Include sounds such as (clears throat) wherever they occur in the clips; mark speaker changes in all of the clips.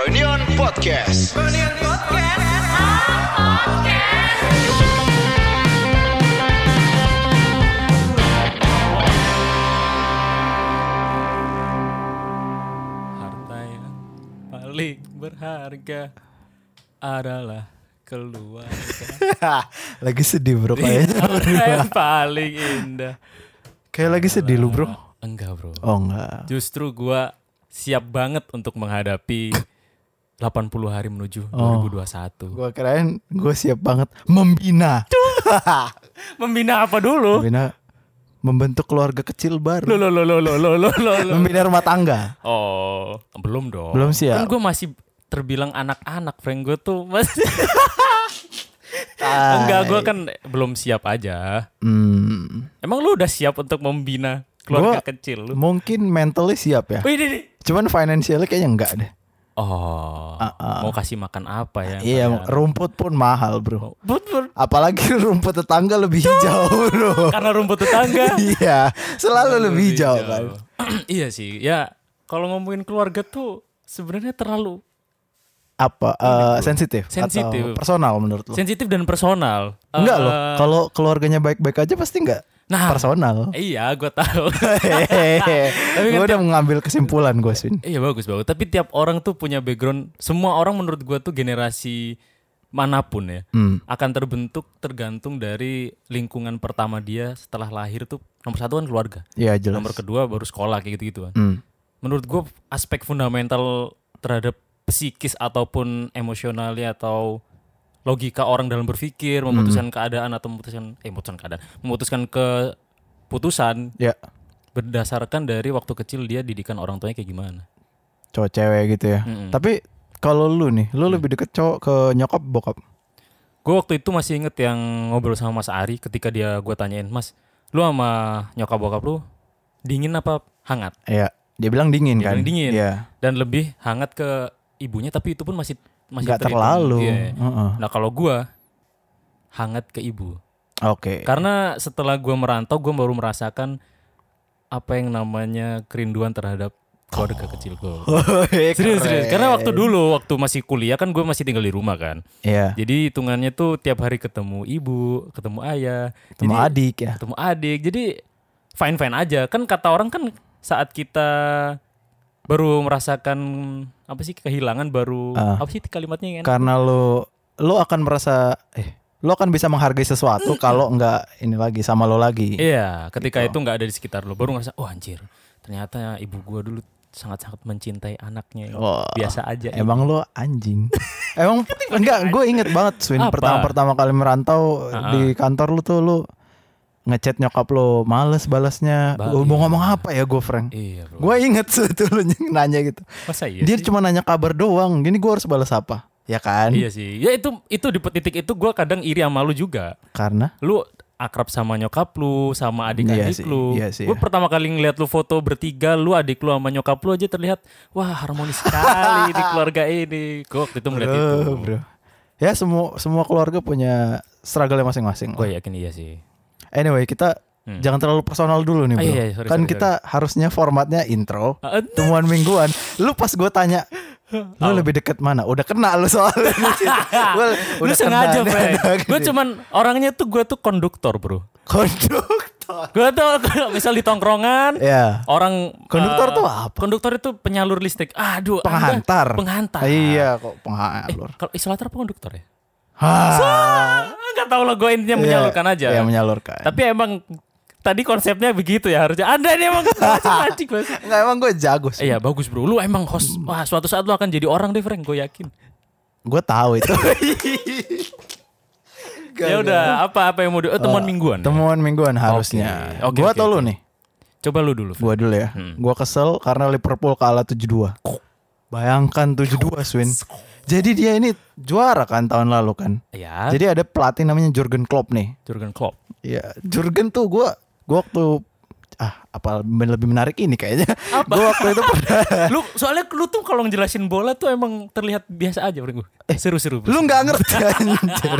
Speaker 1: Reunion Podcast.
Speaker 2: Harta yang paling berharga adalah keluarga.
Speaker 3: lagi sedih bro ya. kayaknya.
Speaker 2: Harta yang paling indah.
Speaker 3: Kayak lagi sedih lu bro.
Speaker 2: Enggak bro.
Speaker 3: Oh enggak.
Speaker 2: Justru gua siap banget untuk menghadapi 80 hari menuju
Speaker 3: Oh.
Speaker 2: 2021.
Speaker 3: Gua keren, gue siap banget membina.
Speaker 2: Membina apa dulu?
Speaker 3: Membina membentuk keluarga
Speaker 2: Lo
Speaker 3: kecil baru.
Speaker 2: lo lo lo lo lo lo lo, lo.
Speaker 3: Membina rumah tangga.
Speaker 2: Oh, belum dong.
Speaker 3: Belum ya. siap.
Speaker 2: Kan gue masih terbilang anak-anak, Frank. Gue tuh (laughs) masih
Speaker 3: Tai.
Speaker 2: enggak. Gue kan belum siap aja.
Speaker 3: Hmm,
Speaker 2: Emang lu udah siap untuk membina keluarga
Speaker 3: Gua-
Speaker 2: kecil lu?
Speaker 3: mungkin mentally siap ya.
Speaker 2: Wih, ini-
Speaker 3: Cuman financially kayaknya enggak deh.
Speaker 2: Oh, mau kasih makan apa ya?
Speaker 3: Ah, Iya,
Speaker 2: Kayak-
Speaker 3: rumput pun mahal bro.
Speaker 2: But- but-
Speaker 3: Apalagi (laughs) rumput tetangga lebih hijau
Speaker 2: (laughs)
Speaker 3: bro.
Speaker 2: karena rumput tetangga.
Speaker 3: (laughs) Iya, selalu lebih hijau
Speaker 2: Hijau.
Speaker 3: kan.
Speaker 2: (clears throat) iya sih. Ya, kalau ngomongin keluarga tuh sebenarnya terlalu
Speaker 3: Apa eh, sensitif? atau
Speaker 2: Sensitif.
Speaker 3: Personal menurut lu?
Speaker 2: sensitif dan personal. Eh,
Speaker 3: Enggak loh,
Speaker 2: eh,
Speaker 3: kalau keluarganya baik-baik aja pasti enggak
Speaker 2: Nah. (laughs)
Speaker 3: personal.
Speaker 2: Iya, gue tahu.
Speaker 3: (laughs)
Speaker 2: (laughs) Tapi
Speaker 3: gue
Speaker 2: kan
Speaker 3: udah mengambil kesimpulan gue Swin.
Speaker 2: Iya bagus bagus. Tapi tiap orang tuh punya background. Semua orang menurut gua tuh generasi manapun ya
Speaker 3: Hmm.
Speaker 2: akan terbentuk tergantung dari lingkungan pertama dia setelah lahir tuh nomor satu kan keluarga.
Speaker 3: Iya jelas.
Speaker 2: Nomor kedua baru sekolah kayak gitu gituan.
Speaker 3: Hmm.
Speaker 2: Menurut gua aspek fundamental terhadap psikis ataupun emosionalnya atau logika orang dalam berpikir
Speaker 3: Hmm.
Speaker 2: memutuskan keadaan atau memutuskan eh memutuskan keadaan memutuskan keputusan
Speaker 3: Ya,
Speaker 2: berdasarkan dari waktu kecil dia didikan orang tuanya kayak gimana.
Speaker 3: cowok cewek gitu ya. Tapi kalau lu nih,
Speaker 2: Mm.
Speaker 3: lu lebih deket cowok ke nyokap bokap.
Speaker 2: Gue waktu itu masih inget yang ngobrol sama Mas Ari ketika dia gue tanyain, Mas, lu sama nyokap bokap lu dingin apa hangat?
Speaker 3: Iya, dia bilang dingin
Speaker 2: Dia
Speaker 3: kan.
Speaker 2: bilang dingin.
Speaker 3: Iya.
Speaker 2: Dan lebih hangat ke ibunya, tapi itu pun masih masih
Speaker 3: Nggak
Speaker 2: terhitung.
Speaker 3: terlalu.
Speaker 2: Iya.
Speaker 3: Heeh.
Speaker 2: Nah kalau gue hangat ke ibu,
Speaker 3: Oke.
Speaker 2: karena setelah gue merantau gue baru merasakan apa yang namanya kerinduan terhadap keluarga kecil gue. Serius, serius. Karena waktu dulu, waktu masih kuliah kan gue masih tinggal di rumah kan.
Speaker 3: (laughs) Iya.
Speaker 2: Jadi hitungannya tuh tiap hari ketemu ibu, ketemu ayah,
Speaker 3: Sama
Speaker 2: jadi,
Speaker 3: adik ya.
Speaker 2: ketemu adik. Jadi fine fine aja. Kan kata orang kan saat kita baru merasakan apa sih kehilangan baru apa sih kalimatnya yang enak?
Speaker 3: Karena lu lu akan merasa eh lu akan bisa menghargai sesuatu kalau nggak ini lagi sama lo lagi.
Speaker 2: Iya, ketika
Speaker 3: gitu.
Speaker 2: itu nggak ada di sekitar lo, baru ngerasa, oh anjir, ternyata ibu gua dulu sangat-sangat mencintai anaknya.
Speaker 3: Wah.
Speaker 2: Biasa aja.
Speaker 3: Emang lo anjing.
Speaker 2: (laughs)
Speaker 3: Emang enggak gue inget banget Swin
Speaker 2: Kan Apa?
Speaker 3: pertama pertama kali merantau di kantor lu tuh lu ngechat nyokap lo males balasnya.
Speaker 2: Ba-
Speaker 3: Gua mau ngomong apa ya gue Frank?
Speaker 2: Iya, bro.
Speaker 3: Gue inget (laughs) sebetulnya nanya gitu.
Speaker 2: Masa iya
Speaker 3: Dia
Speaker 2: sih?
Speaker 3: cuma nanya kabar doang. Gini gue harus balas apa? Ya kan?
Speaker 2: Iya sih. Ya itu itu di titik itu gua kadang iri sama lu juga.
Speaker 3: Karena
Speaker 2: lu akrab sama nyokap lu sama adik-adik
Speaker 3: Iya sih,
Speaker 2: lu.
Speaker 3: iya sih,
Speaker 2: Gua
Speaker 3: iya.
Speaker 2: pertama kali ngeliat lu foto bertiga, lu adik lu sama nyokap lu aja terlihat wah harmonis sekali
Speaker 3: (laughs)
Speaker 2: di keluarga ini. Gue waktu itu ngeliat itu.
Speaker 3: Eh, bro. Ya semua semua keluarga punya struggle masing-masing.
Speaker 2: Gue yakin iya sih.
Speaker 3: Anyway, kita jangan terlalu personal dulu nih,
Speaker 2: Hmm. Ah,
Speaker 3: Bro.
Speaker 2: iya, iya, sorry,
Speaker 3: kan
Speaker 2: sorry,
Speaker 3: kita harusnya formatnya
Speaker 2: (laughs)
Speaker 3: intro,
Speaker 2: Ah, eh.
Speaker 3: temuan mingguan. Lu pas gue tanya, lu lebih deket mana? Udah kena lu
Speaker 2: (laughs)
Speaker 3: soalnya. di situ. Gua
Speaker 2: lu
Speaker 3: udah gitu.
Speaker 2: sengaja,
Speaker 3: kena (laughs) nih, udah
Speaker 2: Gue
Speaker 3: gini.
Speaker 2: cuman orangnya tuh gue tuh konduktor, Bro.
Speaker 3: konduktor.
Speaker 2: Gue tuh misal di tongkrongan
Speaker 3: Ya.
Speaker 2: orang
Speaker 3: Konduktor
Speaker 2: eh,
Speaker 3: tuh apa?
Speaker 2: Konduktor itu penyalur listrik. Aduh, Anda Eh,
Speaker 3: Penghantar.
Speaker 2: Penghantar.
Speaker 3: Iya, kok penghantar.
Speaker 2: Kalau isolator apa konduktor ya?
Speaker 3: Hah.
Speaker 2: Ah, nggak tahu lah gue intinya
Speaker 3: Iya,
Speaker 2: menyalurkan aja.
Speaker 3: Iya, menyalurkan.
Speaker 2: Tapi emang tadi konsepnya begitu ya harusnya. Anda ini
Speaker 3: (laughs)
Speaker 2: emang racik-racik banget.
Speaker 3: Enggak emang gue jago sih.
Speaker 2: Iya bagus bro, lu emang host.
Speaker 3: Hmm.
Speaker 2: Wah suatu saat lu akan jadi orang deh Frank, gue yakin.
Speaker 3: Gue
Speaker 2: (laughs)
Speaker 3: tahu itu.
Speaker 2: Ya udah, apa apa yang mau di... Oh, temuan mingguan. ya?
Speaker 3: Eh, Temuan mingguan harusnya.
Speaker 2: Oke,
Speaker 3: Gue
Speaker 2: oke,
Speaker 3: atau
Speaker 2: oke.
Speaker 3: lu nih?
Speaker 2: Coba lu dulu. Frank.
Speaker 3: Gua dulu ya.
Speaker 2: Hmm.
Speaker 3: Gua kesel karena Liverpool kalah 7-2. Bayangkan 7-2 Swin. Jadi dia ini juara kan tahun lalu kan.
Speaker 2: Ya. Jadi
Speaker 3: Jadi ada pelatih namanya Jurgen Klopp nih.
Speaker 2: Jurgen Klopp.
Speaker 3: Ya, Jurgen tuh gua gua waktu ah apa lebih menarik ini kayaknya. Gua waktu itu pernah
Speaker 2: (laughs) lu soalnya lu tuh kalau ngejelasin bola tuh emang terlihat biasa aja Frank.
Speaker 3: Eh.
Speaker 2: Seru-seru.
Speaker 3: lu
Speaker 2: Bro.
Speaker 3: nggak ngerti anjir.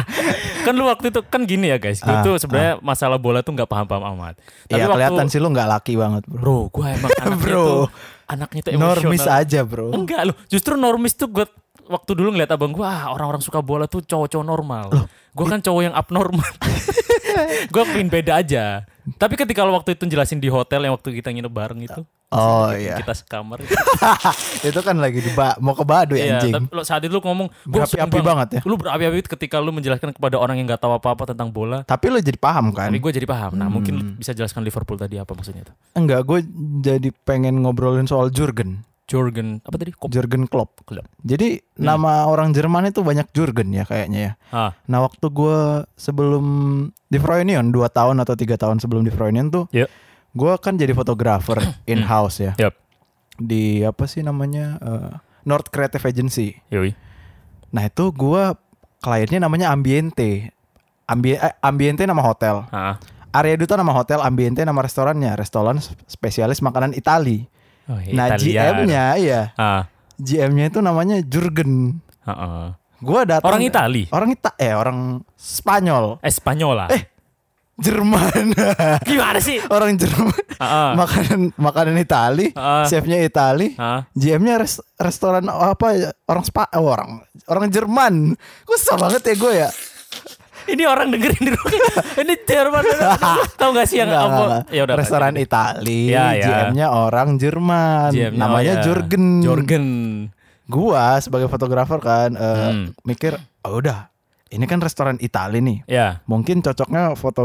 Speaker 2: kan lu waktu itu kan gini ya guys. Gue
Speaker 3: Ah,
Speaker 2: tuh sebenarnya masalah bola tuh nggak paham-paham amat. Tapi
Speaker 3: Iya
Speaker 2: waktu
Speaker 3: kelihatan sih lu nggak laki banget, Bro. (laughs)
Speaker 2: Bro, gue emang anaknya
Speaker 3: Bro.
Speaker 2: tuh anaknya tuh emosional.
Speaker 3: Normis aja bro.
Speaker 2: Enggak loh, justru normis tuh gue waktu dulu ngeliat abang gue, ah orang-orang suka bola tuh cowok-cowok normal. Gue kan cowok yang
Speaker 3: (laughs)
Speaker 2: abnormal. gue pengen beda aja. Tapi ketika lo waktu itu jelasin di hotel yang waktu kita nginep bareng itu,
Speaker 3: Oh iya.
Speaker 2: kita
Speaker 3: (laughs)
Speaker 2: sekamar.
Speaker 3: itu kan lagi di ba- mau ke
Speaker 2: gitu.
Speaker 3: Baduy
Speaker 2: Iya,
Speaker 3: anjing.
Speaker 2: tapi lo saat itu lo ngomong "Gua
Speaker 3: Berapi-api
Speaker 2: seneng
Speaker 3: banget ya.
Speaker 2: Lo berapi-api ketika lo menjelaskan kepada orang yang nggak tahu apa-apa tentang bola.
Speaker 3: Tapi lo jadi paham kan?
Speaker 2: Tapi gue jadi paham. Nah, mungkin
Speaker 3: Hmm.
Speaker 2: lo bisa jelaskan Liverpool tadi apa maksudnya itu.
Speaker 3: Enggak, gue jadi pengen ngobrolin soal Jurgen.
Speaker 2: Jorgen apa tadi? Kop-
Speaker 3: Jurgen Klopp.
Speaker 2: Klopp.
Speaker 3: Jadi nama orang Jerman itu banyak Jurgen ya kayaknya ya.
Speaker 2: ah,
Speaker 3: Nah waktu gue sebelum di Froynion 2 tahun atau tiga tahun sebelum di Froynion tuh
Speaker 2: Yep.
Speaker 3: Gue kan jadi fotografer in-house ya
Speaker 2: yep,
Speaker 3: Di apa sih namanya eh, North Creative Agency
Speaker 2: yoi.
Speaker 3: Nah itu gue kliennya namanya Ambiente Ambi- eh, Ambiente nama hotel
Speaker 2: Ah,
Speaker 3: Area Duta nama hotel, Ambiente nama restorannya Restoran spesialis makanan Itali
Speaker 2: oh,
Speaker 3: Nah
Speaker 2: Italian.
Speaker 3: GM-nya iya
Speaker 2: Ah,
Speaker 3: GM-nya itu namanya Jurgen
Speaker 2: ah, ah.
Speaker 3: Gua datang
Speaker 2: Orang Itali.
Speaker 3: Orang Ita eh orang Spanyol
Speaker 2: Espanyola.
Speaker 3: Eh, Jerman (laughs)
Speaker 2: gimana sih?
Speaker 3: orang Jerman
Speaker 2: Ah, ah.
Speaker 3: makanan makanan Itali
Speaker 2: Ah.
Speaker 3: chefnya Itali
Speaker 2: Ah.
Speaker 3: GM-nya res- restoran apa ya? orang spa eh, orang orang Jerman kusah banget ya gue ya
Speaker 2: Ini orang dengerin di rumah.
Speaker 3: (laughs)
Speaker 2: Ini Jerman. Tahu gak sih yang
Speaker 3: Enggak,
Speaker 2: apa?
Speaker 3: enggak, enggak.
Speaker 2: Ya udah.
Speaker 3: restoran Itali
Speaker 2: Ya, ya.
Speaker 3: GM-nya orang Jerman
Speaker 2: GM-nya,
Speaker 3: namanya
Speaker 2: oh, ya.
Speaker 3: Jurgen
Speaker 2: Jorgen.
Speaker 3: gua sebagai fotografer kan eh,
Speaker 2: Hmm.
Speaker 3: mikir oh udah ini kan restoran Itali nih
Speaker 2: Ya.
Speaker 3: mungkin cocoknya foto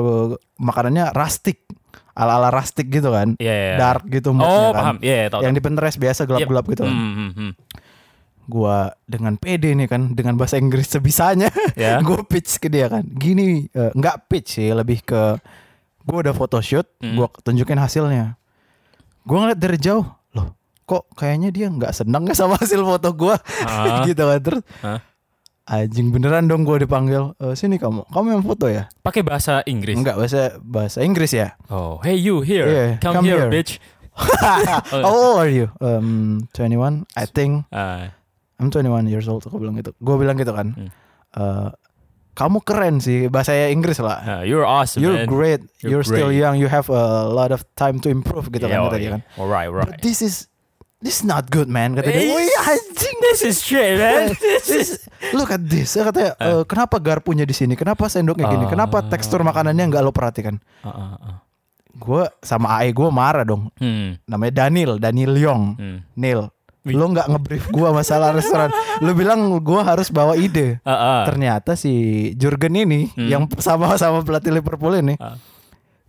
Speaker 3: makanannya rustic ala-ala rustic gitu kan
Speaker 2: Ya, ya, ya.
Speaker 3: dark gitu moodnya
Speaker 2: Oh,
Speaker 3: kan.
Speaker 2: paham. Ya, ya, tahu.
Speaker 3: yang di Pinterest biasa gelap-gelap gitu kan.
Speaker 2: Hmm, hmm, hmm.
Speaker 3: Gua dengan PD nih kan dengan bahasa Inggris sebisanya. (laughs)
Speaker 2: Ya.
Speaker 3: Gue pitch ke dia kan. Gini eh, nggak pitch sih lebih ke gue udah photoshoot,
Speaker 2: Hmm.
Speaker 3: gua tunjukin hasilnya. Gue ngeliat dari jauh, loh kok kayaknya dia nggak seneng ya sama hasil foto gua
Speaker 2: Ah.
Speaker 3: (laughs) gitu kan terus
Speaker 2: Hah?
Speaker 3: anjing beneran dong gue dipanggil "Eh, sini kamu kamu yang foto ya
Speaker 2: Pakai bahasa Inggris.
Speaker 3: enggak bahasa bahasa Inggris
Speaker 2: (laughs)
Speaker 3: ya
Speaker 2: Oh, hey you here.
Speaker 3: Yeah,
Speaker 2: come,
Speaker 3: come
Speaker 2: here,
Speaker 3: here.
Speaker 2: bitch. Oh, iya.
Speaker 3: how old are you um 21 I think
Speaker 2: Ah,
Speaker 3: I'm 21 years old aku bilang gitu gue bilang gitu kan
Speaker 2: Hmm.
Speaker 3: Eh, kamu keren sih bahasa Inggris lah
Speaker 2: ah, you're awesome. man.
Speaker 3: you're great
Speaker 2: You're
Speaker 3: you're, still
Speaker 2: great.
Speaker 3: young you have a lot of time to improve gitu
Speaker 2: Yeah, oh,
Speaker 3: kan kata dia
Speaker 2: yeah.
Speaker 3: kan
Speaker 2: Alright,
Speaker 3: but
Speaker 2: alright.
Speaker 3: this is this is not good man kata dia
Speaker 2: Eh,
Speaker 3: wih anjing
Speaker 2: This is shit, man. This is
Speaker 3: look at this Saya katanya "Eh, kenapa garpunya di sini kenapa sendoknya gini
Speaker 2: Ah.
Speaker 3: kenapa tekstur makanannya nggak lo perhatikan
Speaker 2: Ah, ah, ah.
Speaker 3: gue sama AE gue marah dong
Speaker 2: Hmm,
Speaker 3: namanya Daniel Daniel Yong
Speaker 2: hmm.
Speaker 3: Neil
Speaker 2: Wih.
Speaker 3: lo nggak ngebrief gue masalah restoran lo bilang gue harus bawa ide
Speaker 2: Ah, ah. Hmm.
Speaker 3: ternyata si Jurgen ini yang sama-sama pelatih Liverpool ini
Speaker 2: Ah.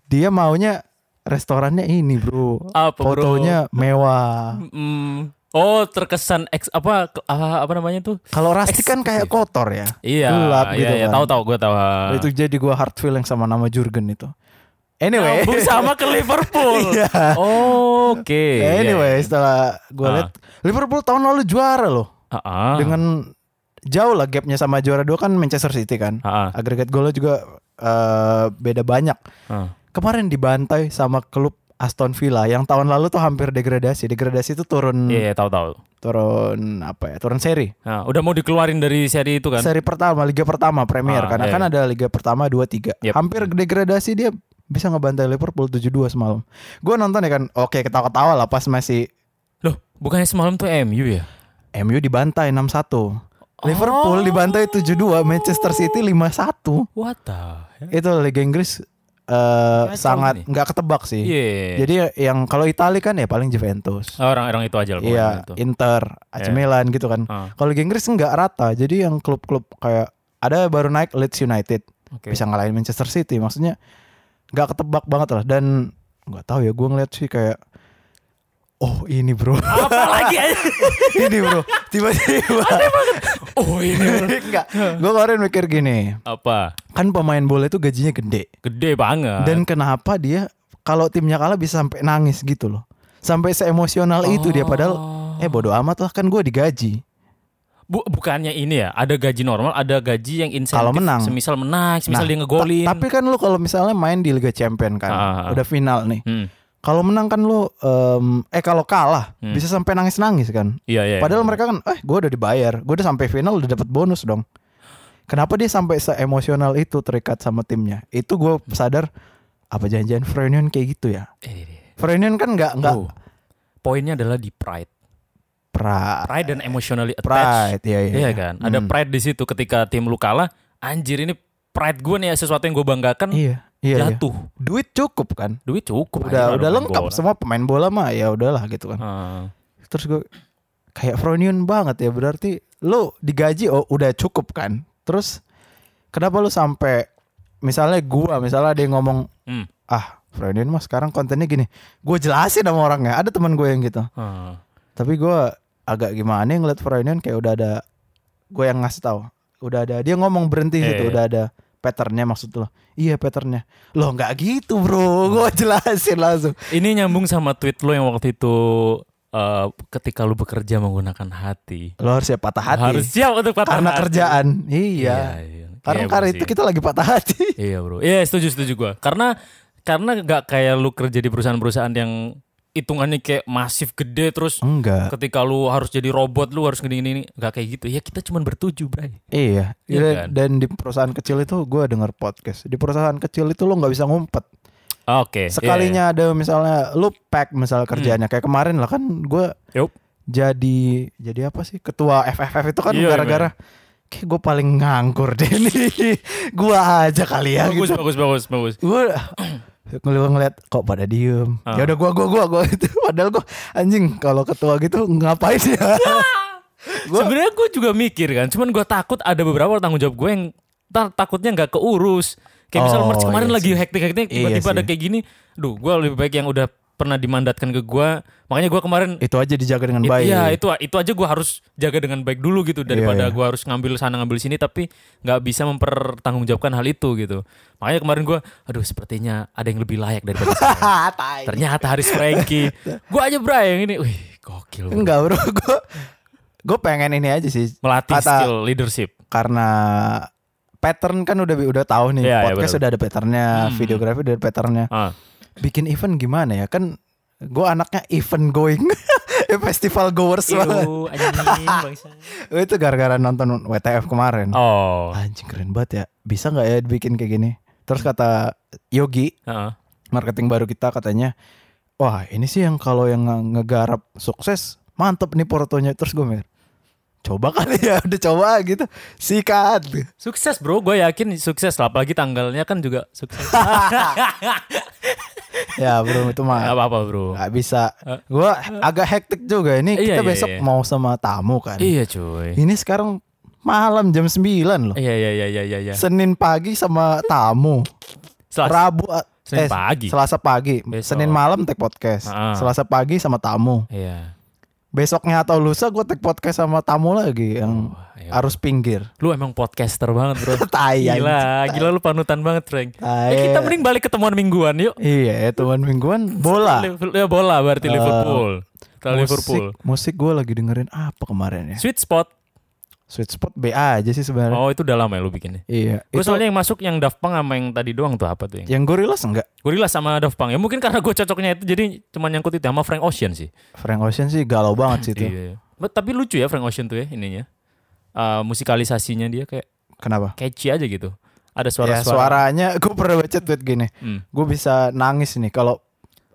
Speaker 3: dia maunya restorannya ini bro
Speaker 2: Apa, bro?
Speaker 3: fotonya mewah
Speaker 2: Mm, oh, terkesan ex apa ke- ah, apa namanya tuh?
Speaker 3: kalau rustic kan kayak kotor ya
Speaker 2: Iya,
Speaker 3: gelap
Speaker 2: iya,
Speaker 3: gitu
Speaker 2: iya,
Speaker 3: kan
Speaker 2: tahu tahu gue tahu. ah.
Speaker 3: itu jadi gua hard feeling sama nama Jurgen itu anyway
Speaker 2: Nyambung sama ke Liverpool.
Speaker 3: (laughs) Iya.
Speaker 2: Oh, Oke. iya,
Speaker 3: (laughs) anyway
Speaker 2: iya.
Speaker 3: setelah gua
Speaker 2: Ah.
Speaker 3: lihat Liverpool tahun lalu juara loh
Speaker 2: Ah, ah.
Speaker 3: dengan jauh lah gapnya sama juara dua kan Manchester City kan
Speaker 2: Ah, ah.
Speaker 3: agregat golnya juga eh, beda banyak
Speaker 2: Ah.
Speaker 3: kemarin dibantai sama klub Aston Villa yang tahun lalu tuh hampir degradasi. Degradasi itu turun
Speaker 2: Iya, iya, tahu tahu.
Speaker 3: turun apa ya? Turun seri.
Speaker 2: Nah, udah mau dikeluarin dari seri itu kan?
Speaker 3: Seri pertama, liga pertama
Speaker 2: Ah,
Speaker 3: Premier karena
Speaker 2: iya,
Speaker 3: kan ada liga pertama 2 3.
Speaker 2: Yep.
Speaker 3: Hampir degradasi dia bisa ngebantai Liverpool 7-2 semalam. Gue nonton ya kan, oke ketawa-ketawa lah pas masih
Speaker 2: Loh, bukannya semalam tuh MU ya?
Speaker 3: MU dibantai 6-1.
Speaker 2: Oh.
Speaker 3: Liverpool dibantai 7-2, Manchester City 5-1.
Speaker 2: What the hell?
Speaker 3: Itu Liga Inggris eh,
Speaker 2: nih.
Speaker 3: sangat nggak ketebak sih.
Speaker 2: Iya.
Speaker 3: Jadi yang kalau Italia kan ya paling Juventus.
Speaker 2: Orang-orang itu aja lah pokoknya
Speaker 3: Iya,
Speaker 2: itu.
Speaker 3: Inter, AC
Speaker 2: Iya.
Speaker 3: Milan gitu kan.
Speaker 2: Ah.
Speaker 3: Kalau Liga Inggris nggak rata, jadi yang klub-klub kayak ada baru naik Leeds United
Speaker 2: Oke.
Speaker 3: bisa ngalahin Manchester City, maksudnya nggak ketebak banget lah. Dan nggak tahu ya, gue ngeliat sih kayak oh ini bro,
Speaker 2: Apa lagi aja?
Speaker 3: (laughs) ini bro, tiba-tiba (laughs)
Speaker 2: Oh ini
Speaker 3: nggak. Gue kemarin mikir gini,
Speaker 2: apa?
Speaker 3: kan pemain bola itu gajinya gede,
Speaker 2: Gede banget.
Speaker 3: dan kenapa dia kalau timnya kalah bisa sampai nangis gitu loh, sampai seemosional itu dia padahal
Speaker 2: Oh.
Speaker 3: eh bodoh amat lah kan gue digaji.
Speaker 2: Bu- bukannya ini ya? Ada gaji normal, ada gaji yang insentif.
Speaker 3: Kalau menang.
Speaker 2: Semisal menang, semisal
Speaker 3: Nah,
Speaker 2: dia ngegolin.
Speaker 3: ta- tapi kan lu kalau misalnya main di Liga Champion kan,
Speaker 2: Ah, ah, ah.
Speaker 3: udah final nih.
Speaker 2: Hmm,
Speaker 3: Kalau menang kan lu em, eh kalau kalah bisa sampai nangis-nangis kan.
Speaker 2: Iya Hmm. iya.
Speaker 3: Padahal mereka kan eh gua udah dibayar, gua udah sampai final udah dapat bonus dong. Kenapa dia sampai seemosional itu terikat sama timnya? Itu gua sadar apa janjian Frenion kayak gitu ya.
Speaker 2: Eh,
Speaker 3: Frenion kan nggak nggak
Speaker 2: Oh. poinnya adalah di pride.
Speaker 3: Pride.
Speaker 2: Pride dan emotionally attached.
Speaker 3: Pride, iya iya.
Speaker 2: Iya kan? Ada
Speaker 3: Hmm.
Speaker 2: pride di situ ketika tim lu kalah, anjir ini pride gue nih ya, sesuatu yang gue banggakan
Speaker 3: Iya, iya. iya.
Speaker 2: jatuh.
Speaker 3: Duit cukup kan?
Speaker 2: Duit cukup
Speaker 3: Udah
Speaker 2: anjir, Ah,
Speaker 3: udah
Speaker 2: main
Speaker 3: lengkap
Speaker 2: bola.
Speaker 3: semua pemain bola mah ya udahlah gitu kan.
Speaker 2: Heeh.
Speaker 3: Terus gue kayak Fronion banget ya berarti lu digaji oh udah cukup kan. Terus kenapa lu sampai misalnya gua misalnya ada yang ngomong
Speaker 2: Hmm.
Speaker 3: ah Fronion mah sekarang kontennya gini. Gue jelasin sama orangnya. Ada teman gue yang gitu.
Speaker 2: Heeh.
Speaker 3: Tapi gua agak gimana yang ngeliat Freudian kayak udah ada gue yang ngasih tahu, udah ada dia ngomong berhenti
Speaker 2: Iya,
Speaker 3: gitu,
Speaker 2: iya.
Speaker 3: udah ada patternnya maksud lo. Iya patternnya. Loh nggak gitu bro, gue (laughs) jelasin langsung.
Speaker 2: Ini nyambung sama tweet lo yang waktu itu eh, ketika lu bekerja menggunakan hati.
Speaker 3: Lo harus siap patah hati.
Speaker 2: Harus siap untuk patah
Speaker 3: karena
Speaker 2: hati.
Speaker 3: kerjaan. Iya.
Speaker 2: iya.
Speaker 3: Karena
Speaker 2: Iya,
Speaker 3: karena
Speaker 2: bener
Speaker 3: itu
Speaker 2: sih.
Speaker 3: kita lagi patah hati.
Speaker 2: Iya bro, iya setuju setuju gua Karena karena nggak kayak lu kerja di perusahaan-perusahaan yang hitungannya kayak masif gede terus
Speaker 3: Oh, Enggak.
Speaker 2: ketika lu harus jadi robot lu harus gini ini nggak kayak gitu. Ya kita cuman bertuju bray.
Speaker 3: Iya.
Speaker 2: Iya
Speaker 3: Dan-
Speaker 2: kan?
Speaker 3: Dan di perusahaan kecil itu gue denger podcast. Di perusahaan kecil itu lo nggak bisa ngumpet.
Speaker 2: Oke.
Speaker 3: Sekalinya ada misalnya lu pack misalnya
Speaker 2: Hmm.
Speaker 3: kerjaannya kayak kemarin lah kan gue
Speaker 2: Yup.
Speaker 3: jadi jadi apa sih ketua FFF itu kan
Speaker 2: Iya,
Speaker 3: gara-gara kayak gue paling nganggur deh nih (laughs) gue aja kali ya
Speaker 2: bagus
Speaker 3: gitu
Speaker 2: bagus bagus bagus.
Speaker 3: gue ngeliat ngeliat kok pada diem
Speaker 2: Ah.
Speaker 3: ya udah gue gue gue gue itu padahal gue anjing kalau ketua gitu ngapain
Speaker 2: (laughs)
Speaker 3: ya Gua-
Speaker 2: Sebenarnya gue juga mikir kan, cuman gue takut ada beberapa tanggung jawab gue yang ntar takutnya nggak keurus. Kayak misalnya
Speaker 3: Oh,
Speaker 2: Merch kemarin
Speaker 3: iya
Speaker 2: lagi
Speaker 3: sih.
Speaker 2: hektik-hektik,
Speaker 3: Iya
Speaker 2: tiba-tiba
Speaker 3: sih.
Speaker 2: ada kayak gini. Duh, gue lebih baik yang udah pernah dimandatkan ke gue. Makanya gue kemarin
Speaker 3: itu aja dijaga dengan
Speaker 2: It-
Speaker 3: baik
Speaker 2: Iya itu itu aja gue harus jaga dengan baik dulu gitu daripada
Speaker 3: iya.
Speaker 2: gue harus ngambil sana ngambil sini tapi nggak bisa mempertanggungjawabkan hal itu gitu. Makanya kemarin gue, aduh sepertinya ada yang lebih layak daripada saya.
Speaker 3: (laughs)
Speaker 2: (laughs)
Speaker 3: Ah, tai.
Speaker 2: Ternyata Haris Franky. gue aja bray yang ini, wih gokil. bro.
Speaker 3: enggak bro (laughs) gue gue pengen ini aja sih
Speaker 2: Melatih
Speaker 3: Kata-
Speaker 2: skill leadership.
Speaker 3: karena pattern kan udah udah tahu
Speaker 2: Iya,
Speaker 3: nih
Speaker 2: iya,
Speaker 3: podcast
Speaker 2: betul.
Speaker 3: udah ada patternnya
Speaker 2: Hmm.
Speaker 3: videografi udah ada patternnya
Speaker 2: Ah.
Speaker 3: bikin event gimana ya kan gue anaknya event going (laughs) Ya, festival
Speaker 2: Iya.
Speaker 3: goers banget
Speaker 2: Iu,
Speaker 3: Oh,
Speaker 2: anjing, bangsa.
Speaker 3: itu gara-gara nonton WTF kemarin (laughs)
Speaker 2: Oh.
Speaker 3: anjing keren banget ya bisa nggak ya bikin kayak gini terus kata Yogi
Speaker 2: Heeh.
Speaker 3: marketing baru kita katanya wah ini sih yang kalau yang nge- ngegarap sukses mantep nih portonya terus gue mikir coba kali ya (laughs) udah coba gitu sikat
Speaker 2: Sukses bro, gue yakin sukses lah. Apalagi tanggalnya kan juga
Speaker 3: (laughs)
Speaker 2: sukses.
Speaker 3: ya bro itu
Speaker 2: Gak
Speaker 3: mah
Speaker 2: apa-apa bro.
Speaker 3: nggak bisa gue agak hektik juga ini
Speaker 2: Iya,
Speaker 3: kita
Speaker 2: iya,
Speaker 3: besok
Speaker 2: iya.
Speaker 3: mau sama tamu kan
Speaker 2: Iya cuy.
Speaker 3: Ini sekarang malam jam 9 loh.
Speaker 2: Iya iya iya iya iya. iya.
Speaker 3: Senin pagi sama tamu.
Speaker 2: Selasa.
Speaker 3: Rabu eh,
Speaker 2: Senin pagi.
Speaker 3: Selasa pagi.
Speaker 2: Besok.
Speaker 3: Senin malam tag podcast.
Speaker 2: Ah.
Speaker 3: Selasa pagi sama tamu.
Speaker 2: Iya.
Speaker 3: Besoknya atau lusa gue tag podcast sama tamu lagi yang
Speaker 2: Wah, iya.
Speaker 3: harus pinggir.
Speaker 2: Lu emang podcaster banget bro
Speaker 3: (laughs) Tai
Speaker 2: Gila,
Speaker 3: anjing.
Speaker 2: gila lu panutan banget Frank
Speaker 3: Tai.
Speaker 2: Eh, Kita mending balik ketemuan mingguan yuk
Speaker 3: Iya, ya, teman mingguan bola.
Speaker 2: Liverpool- Ya bola berarti
Speaker 3: Eh,
Speaker 2: Liverpool Kalau Liverpool
Speaker 3: Musik, musik gue lagi dengerin apa kemarin ya?
Speaker 2: Sweet spot
Speaker 3: Sweet spot B aja sih sebenarnya.
Speaker 2: Oh itu udah lama ya lu bikinnya
Speaker 3: Iya.
Speaker 2: Gue
Speaker 3: Eh. Itu
Speaker 2: soalnya yang masuk yang Daft Punk sama yang tadi doang tuh apa tuh yang
Speaker 3: yang Gorillaz enggak?
Speaker 2: Gorilla sama Daft Punk Ya mungkin karena gue cocoknya itu jadi cuman nyangkut itu sama Frank Ocean sih
Speaker 3: Frank Ocean sih galau banget sih itu.
Speaker 2: Iya But- Tapi lucu ya Frank Ocean tuh ya ininya Eh, Musikalisasinya dia kayak
Speaker 3: Kenapa?
Speaker 2: catchy aja gitu Ada
Speaker 3: Ya,
Speaker 2: suara-suara
Speaker 3: suaranya (laughs) gue pernah baca tweet gini
Speaker 2: Hmm.
Speaker 3: gue bisa nangis nih kalau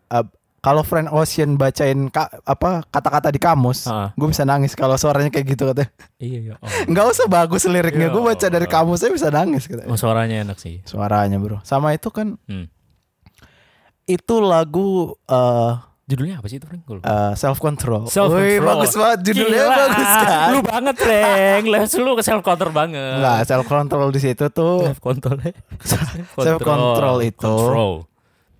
Speaker 3: uh, kalau Friend Ocean bacain ka- apa kata-kata di kamus
Speaker 2: Ha-ha.
Speaker 3: gue bisa nangis kalau suaranya kayak gitu katanya
Speaker 2: Iya iya oh.
Speaker 3: nggak usah bagus
Speaker 2: Iya.
Speaker 3: liriknya gue baca dari kamusnya bisa nangis katanya
Speaker 2: Oh, Suaranya enak sih
Speaker 3: suaranya bro sama itu kan
Speaker 2: Hmm.
Speaker 3: itu lagu uh,
Speaker 2: Judulnya apa sih itu Frank? Gua lupa.
Speaker 3: uh, self control
Speaker 2: Self
Speaker 3: Wih,
Speaker 2: Control.
Speaker 3: bagus banget judulnya
Speaker 2: Gila,
Speaker 3: bagus kan
Speaker 2: Lu banget, Reng. Les lu ke self control banget.
Speaker 3: nggak self control di situ tuh
Speaker 2: Self control.
Speaker 3: (laughs) Self control itu.
Speaker 2: Control.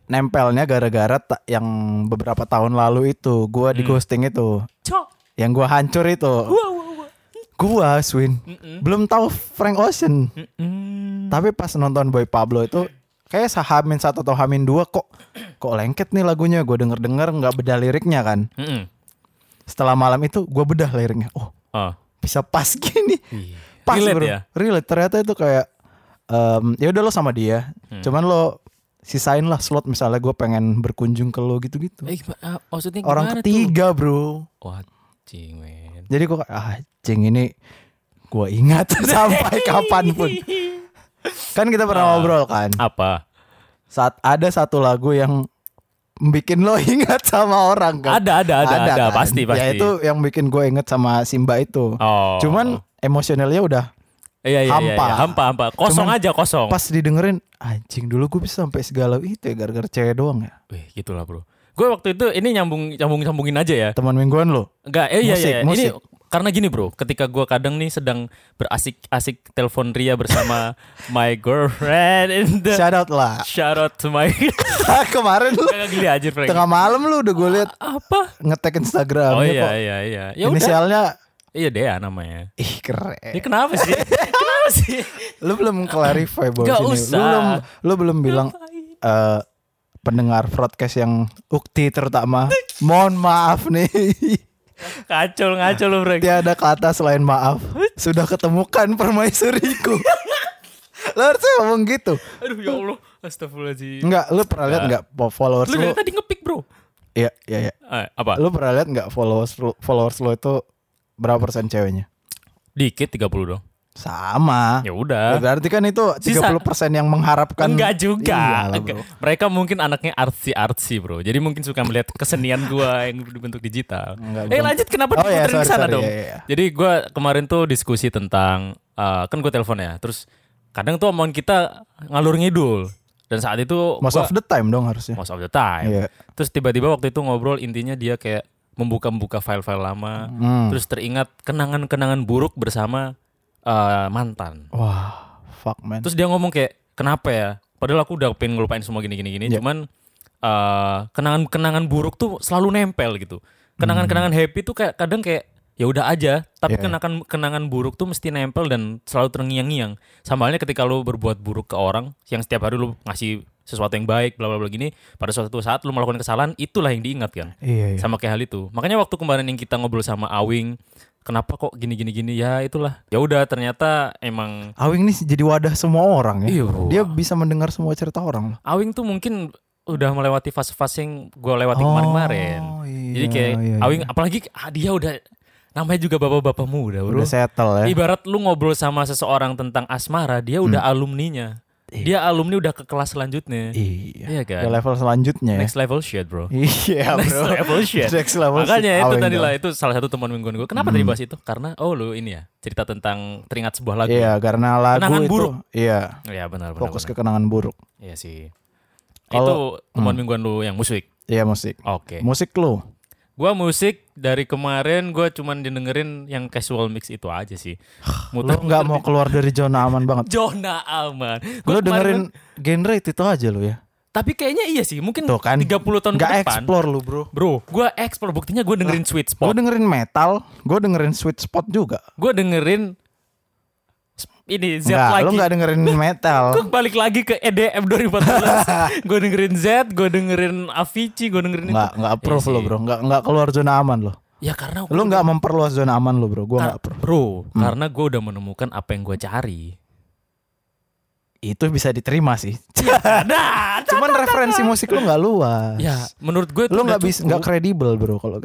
Speaker 3: nempelnya gara-gara ta- yang beberapa tahun lalu itu gue di
Speaker 2: Hmm.
Speaker 3: ghosting itu
Speaker 2: Cok.
Speaker 3: yang gue hancur itu
Speaker 2: Wah, wah, wah.
Speaker 3: gua Swin belum tahu Frank Ocean
Speaker 2: Mm-mm.
Speaker 3: tapi pas nonton Boy Pablo itu kayak sahamin satu atau hamin dua kok kok lengket nih lagunya gue denger denger nggak bedah liriknya kan
Speaker 2: Mm-mm.
Speaker 3: setelah malam itu gua bedah liriknya oh
Speaker 2: Ah.
Speaker 3: bisa pas (laughs) gini
Speaker 2: Iya.
Speaker 3: pas
Speaker 2: Relate
Speaker 3: bro
Speaker 2: ya?
Speaker 3: relate ternyata itu kayak em, ya udah lo sama dia
Speaker 2: Hmm.
Speaker 3: cuman lo sisain lah slot misalnya gue pengen berkunjung ke lo gitu-gitu
Speaker 2: Eh, gimana- ah, maksudnya gimana
Speaker 3: orang ketiga bro
Speaker 2: tuh? Wah, cing, men.
Speaker 3: jadi gue ah cing ini gue
Speaker 2: (laughs)
Speaker 3: ingat sampai kapanpun
Speaker 2: Ah.
Speaker 3: kan kita pernah ngobrol kan
Speaker 2: Apa?
Speaker 3: saat ada satu lagu yang bikin lo (laughs) ingat sama orang kan?
Speaker 2: Ada, ada, ada, ada,
Speaker 3: kan?
Speaker 2: pasti, pasti.
Speaker 3: Ya itu yang bikin gue inget sama Simba itu.
Speaker 2: Oh.
Speaker 3: Cuman emosionalnya udah
Speaker 2: iya, iya, iya, iya.
Speaker 3: hampa.
Speaker 2: hampa, hampa. Kosong
Speaker 3: Cuman
Speaker 2: aja, kosong.
Speaker 3: pas didengerin anjing dulu gue bisa sampai segalau itu ya gara-gara cewek doang ya.
Speaker 2: Wih, gitulah, Bro. Gue waktu itu ini nyambung nyambung sambungin aja ya.
Speaker 3: Teman mingguan lo.
Speaker 2: Enggak, eh, iya,
Speaker 3: Musik,
Speaker 2: iya.
Speaker 3: musik.
Speaker 2: Ini karena gini bro, ketika gua kadang nih sedang berasik-asik telepon Ria
Speaker 3: (laughs)
Speaker 2: bersama my girlfriend in the
Speaker 3: Shout out lah. (laughs)
Speaker 2: shout out to my (laughs)
Speaker 3: Kemarin lu
Speaker 2: Kagak gini aja Frank.
Speaker 3: tengah malam lu udah gue lihat
Speaker 2: Apa?
Speaker 3: ngetek
Speaker 2: Oh
Speaker 3: Instagram ya
Speaker 2: iya
Speaker 3: kok.
Speaker 2: iya iya. Ya udah.
Speaker 3: Inisialnya
Speaker 2: Iya Dea namanya.
Speaker 3: ih keren.
Speaker 2: Ini kenapa sih? (laughs) kenapa sih?
Speaker 3: Lu
Speaker 2: (laughs)
Speaker 3: belum clarify bahwa
Speaker 2: Gak
Speaker 3: sini.
Speaker 2: usah.
Speaker 3: Lu belum lu belum bilang eh, pendengar broadcast yang ukti terutama. Mohon maaf nih. (laughs)
Speaker 2: Kacol ngacol lu Frank.
Speaker 3: Tiada kata selain maaf. Sudah ketemukan
Speaker 2: (laughs)
Speaker 3: permaisuriku. lu harusnya ngomong gitu.
Speaker 2: Aduh ya Allah, astagfirullahaladzim.
Speaker 3: Enggak, lu pernah lihat enggak followers
Speaker 2: Iya. Lu
Speaker 3: lu?
Speaker 2: dari tadi ngepick bro.
Speaker 3: Iya, iya, iya.
Speaker 2: Eh, apa?
Speaker 3: Lu pernah lihat enggak followers lu, followers lu itu berapa persen ceweknya?
Speaker 2: Dikit 30 dong.
Speaker 3: Sama.
Speaker 2: Ya
Speaker 3: Ya,
Speaker 2: udah.
Speaker 3: Berarti kan itu 30%
Speaker 2: Sisa-
Speaker 3: yang mengharapkan
Speaker 2: Enggak juga.
Speaker 3: Iyalah,
Speaker 2: Enggak.
Speaker 3: bro.
Speaker 2: Mereka mungkin anaknya artsy-artsy, Bro. Jadi mungkin suka melihat kesenian gua yang berbentuk digital.
Speaker 3: Enggak,
Speaker 2: eh,
Speaker 3: bukan.
Speaker 2: lanjut kenapa
Speaker 3: Oh, iya,
Speaker 2: diputerin ke
Speaker 3: sorry,
Speaker 2: sana
Speaker 3: sorry,
Speaker 2: dong?
Speaker 3: iya, iya.
Speaker 2: Jadi gua kemarin tuh diskusi tentang eh, kan gua telepon ya. Terus kadang tuh omongan kita ngalur ngidul. Dan saat itu
Speaker 3: Most
Speaker 2: gua-
Speaker 3: of the time dong harusnya.
Speaker 2: most of the time.
Speaker 3: Iya.
Speaker 2: Terus tiba-tiba waktu itu ngobrol intinya dia kayak membuka-buka file-file lama,
Speaker 3: Hmm.
Speaker 2: terus teringat kenangan-kenangan buruk bersama eh, mantan.
Speaker 3: Wah, fuck man.
Speaker 2: Terus dia ngomong kayak kenapa ya? Padahal aku udah pengen ngelupain semua gini-gini gini.
Speaker 3: Iya.
Speaker 2: Cuman eh, kenangan-kenangan buruk tuh selalu nempel gitu. Kenangan-kenangan happy tuh kayak kadang kayak ya udah aja. Tapi
Speaker 3: Hmm. Iya, iya.
Speaker 2: kenangan kenangan buruk tuh mesti nempel dan selalu terngiang-ngiang. Sama halnya ketika lu berbuat buruk ke orang yang setiap hari lu ngasih sesuatu yang baik bla bla bla gini pada suatu saat lu melakukan kesalahan itulah yang diingat kan
Speaker 3: Iya, iya.
Speaker 2: sama kayak hal itu. Makanya waktu kemarin yang kita ngobrol sama Awing, kenapa kok gini gini gini ya itulah. Ya udah ternyata emang
Speaker 3: Awing ini jadi wadah semua orang ya.
Speaker 2: Iya, bro.
Speaker 3: Dia bisa mendengar semua cerita orang.
Speaker 2: Awing tuh mungkin udah melewati fase-fase yang gue lewati
Speaker 3: Oh,
Speaker 2: kemarin-kemarin.
Speaker 3: iya,
Speaker 2: Jadi kayak
Speaker 3: iya, iya.
Speaker 2: Awing apalagi ah, dia udah namanya juga bapak-bapak muda, Bro. Iya.
Speaker 3: Udah settle ya.
Speaker 2: Ibarat lu ngobrol sama seseorang tentang asmara, dia udah alumninya. Dia alumni udah ke kelas selanjutnya.
Speaker 3: Hmm. Iya.
Speaker 2: Iya kan?
Speaker 3: Ke level selanjutnya ya.
Speaker 2: Next level shit, Bro.
Speaker 3: (laughs) Iya,
Speaker 2: (laughs) Next
Speaker 3: bro.
Speaker 2: level shit.
Speaker 3: Next level
Speaker 2: Makanya
Speaker 3: shit.
Speaker 2: itu tadi
Speaker 3: Awing dong. Hmm.
Speaker 2: lah ya. itu salah satu teman mingguan gue. Kenapa tadi bahas itu? Karena oh lu ini ya, cerita tentang teringat sebuah lagu.
Speaker 3: Iya, karena lagu
Speaker 2: Kenangan
Speaker 3: itu.
Speaker 2: buruk.
Speaker 3: Iya.
Speaker 2: Iya, benar benar.
Speaker 3: Fokus
Speaker 2: benar.
Speaker 3: ke kenangan buruk.
Speaker 2: Iya sih.
Speaker 3: Kalau- Hmm.
Speaker 2: itu teman mingguan lu yang musik.
Speaker 3: Iya, musik.
Speaker 2: Oke.
Speaker 3: Musik lu.
Speaker 2: Gua musik dari kemarin gua cuman dengerin yang casual mix itu aja sih.
Speaker 3: Lu
Speaker 2: Muter
Speaker 3: nggak mau keluar dari zona aman banget.
Speaker 2: (laughs) Jona Aman. (laughs) Gua
Speaker 3: Lu
Speaker 2: kemarin- kan-
Speaker 3: dengerin genre itu aja lu ya.
Speaker 2: tapi kayaknya iya sih, mungkin
Speaker 3: Tuh kan.
Speaker 2: 30 tahun
Speaker 3: Nggak
Speaker 2: ke depan.
Speaker 3: explore lu, bro.
Speaker 2: Bro, gua explore buktinya gua dengerin sweet
Speaker 3: Gue
Speaker 2: spot.
Speaker 3: dengerin metal, gue dengerin sweet spot juga.
Speaker 2: Gua dengerin sp- ini Z
Speaker 3: Enggak,
Speaker 2: lagi.
Speaker 3: lu nggak
Speaker 2: (laughs)
Speaker 3: dengerin metal.
Speaker 2: Gua balik lagi ke E EDM
Speaker 3: (laughs)
Speaker 2: 2014. gua dengerin Z, gua dengerin Avicii, gua dengerin
Speaker 3: Nggak,
Speaker 2: itu.
Speaker 3: nggak approve
Speaker 2: Iya
Speaker 3: lu
Speaker 2: sih.
Speaker 3: bro. Nggak, nggak keluar zona aman lo.
Speaker 2: Ya karena
Speaker 3: Lu nggak memperluas zona aman lu bro. Gue nggak approve. Hmm.
Speaker 2: Bro, karena gua udah menemukan apa yang gua cari.
Speaker 3: (laughs) Itu bisa diterima sih.
Speaker 2: Nah,
Speaker 3: Cuman referensi musik lu nggak luas.
Speaker 2: Ya, menurut gue itu
Speaker 3: Lu
Speaker 2: udah
Speaker 3: nggak bisa,
Speaker 2: cukup.
Speaker 3: nggak kredibel bro kalau.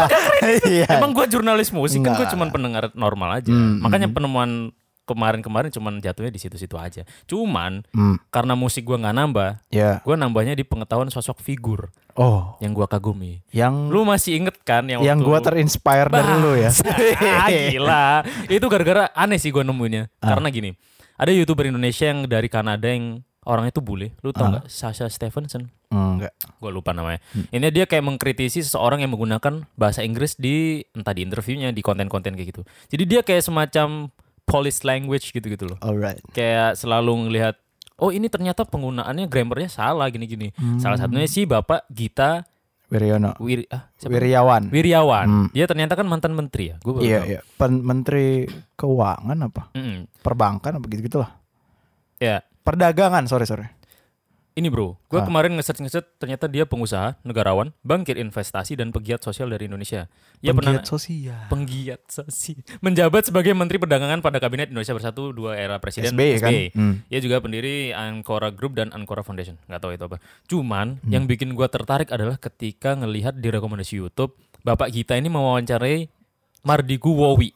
Speaker 2: (laughs)
Speaker 3: Iya.
Speaker 2: Emang gue jurnalis musik kan gue
Speaker 3: Nggak.
Speaker 2: cuman pendengar normal aja.
Speaker 3: Hmm,
Speaker 2: Makanya penemuan kemarin-kemarin cuman jatuhnya di situ-situ aja. Cuman
Speaker 3: Hmm,
Speaker 2: karena musik gue nggak nambah,
Speaker 3: ya.
Speaker 2: gue nambahnya di pengetahuan sosok figur
Speaker 3: Oh,
Speaker 2: yang gue kagumi.
Speaker 3: yang
Speaker 2: Lu masih inget kan yang
Speaker 3: yang
Speaker 2: waktu-
Speaker 3: gue terinspire dari lu ya.
Speaker 2: Ah, gila. Itu gara-gara aneh sih gue nemunya.
Speaker 3: Ah.
Speaker 2: Karena gini, ada youtuber Indonesia yang dari Kanada yang orangnya tuh bule. Lu
Speaker 3: Ah.
Speaker 2: tau nggak Sasha Stevenson?
Speaker 3: Enggak.
Speaker 2: gue lupa namanya. Ini dia kayak mengkritisi seseorang yang menggunakan bahasa Inggris di entah di interviewnya, di konten-konten kayak gitu. Jadi dia kayak semacam polish language gitu-gitu loh.
Speaker 3: Alright.
Speaker 2: Kayak selalu ngelihat oh ini ternyata penggunaannya grammarnya salah gini-gini. Salah satunya sih Bapak Gita
Speaker 3: Wiryono.
Speaker 2: Wir ah, siapa?
Speaker 3: Wiryawan.
Speaker 2: Wiryawan. Dia ternyata kan mantan menteri ya. Gue baru
Speaker 3: Iya,
Speaker 2: tahu.
Speaker 3: iya. Pen- Menteri Keuangan apa?
Speaker 2: Mm-mm.
Speaker 3: Perbankan apa gitu gitulah.
Speaker 2: Ya,
Speaker 3: Perdagangan, sorry sorry.
Speaker 2: Ini bro, gue kemarin ngeset-ngeset ternyata dia pengusaha, negarawan, bangkit investasi dan pegiat sosial dari Indonesia. Ia pernah
Speaker 3: Penggiat sosial.
Speaker 2: penggiat sosial. Menjabat sebagai Menteri Perdagangan pada Kabinet Indonesia Bersatu dua era Presiden
Speaker 3: SBY, kan? Hmm.
Speaker 2: Ia juga pendiri Ancora Group dan Ancora Foundation. Gak tahu itu apa. Cuman
Speaker 3: Hmm.
Speaker 2: yang bikin gua tertarik adalah ketika ngelihat di rekomendasi YouTube Bapak Gita ini mewawancarai Mardigu Wowi.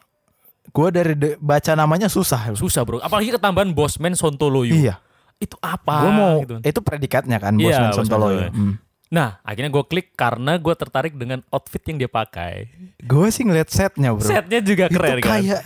Speaker 3: Gue dari de- baca namanya susah. bro.
Speaker 2: Susah bro. Apalagi ketambahan Bosman Sontoloyo.
Speaker 3: Iya.
Speaker 2: Itu apa?
Speaker 3: Gue mau
Speaker 2: gitu.
Speaker 3: itu predikatnya kan
Speaker 2: Iya,
Speaker 3: Bosman
Speaker 2: Bosman
Speaker 3: Sontoloyo.
Speaker 2: Sontoloyo.
Speaker 3: Hmm.
Speaker 2: Nah, akhirnya gue klik karena gue tertarik dengan outfit yang dia pakai.
Speaker 3: Gue sih ngeliat setnya bro.
Speaker 2: Setnya juga
Speaker 3: itu
Speaker 2: keren kan.
Speaker 3: kayak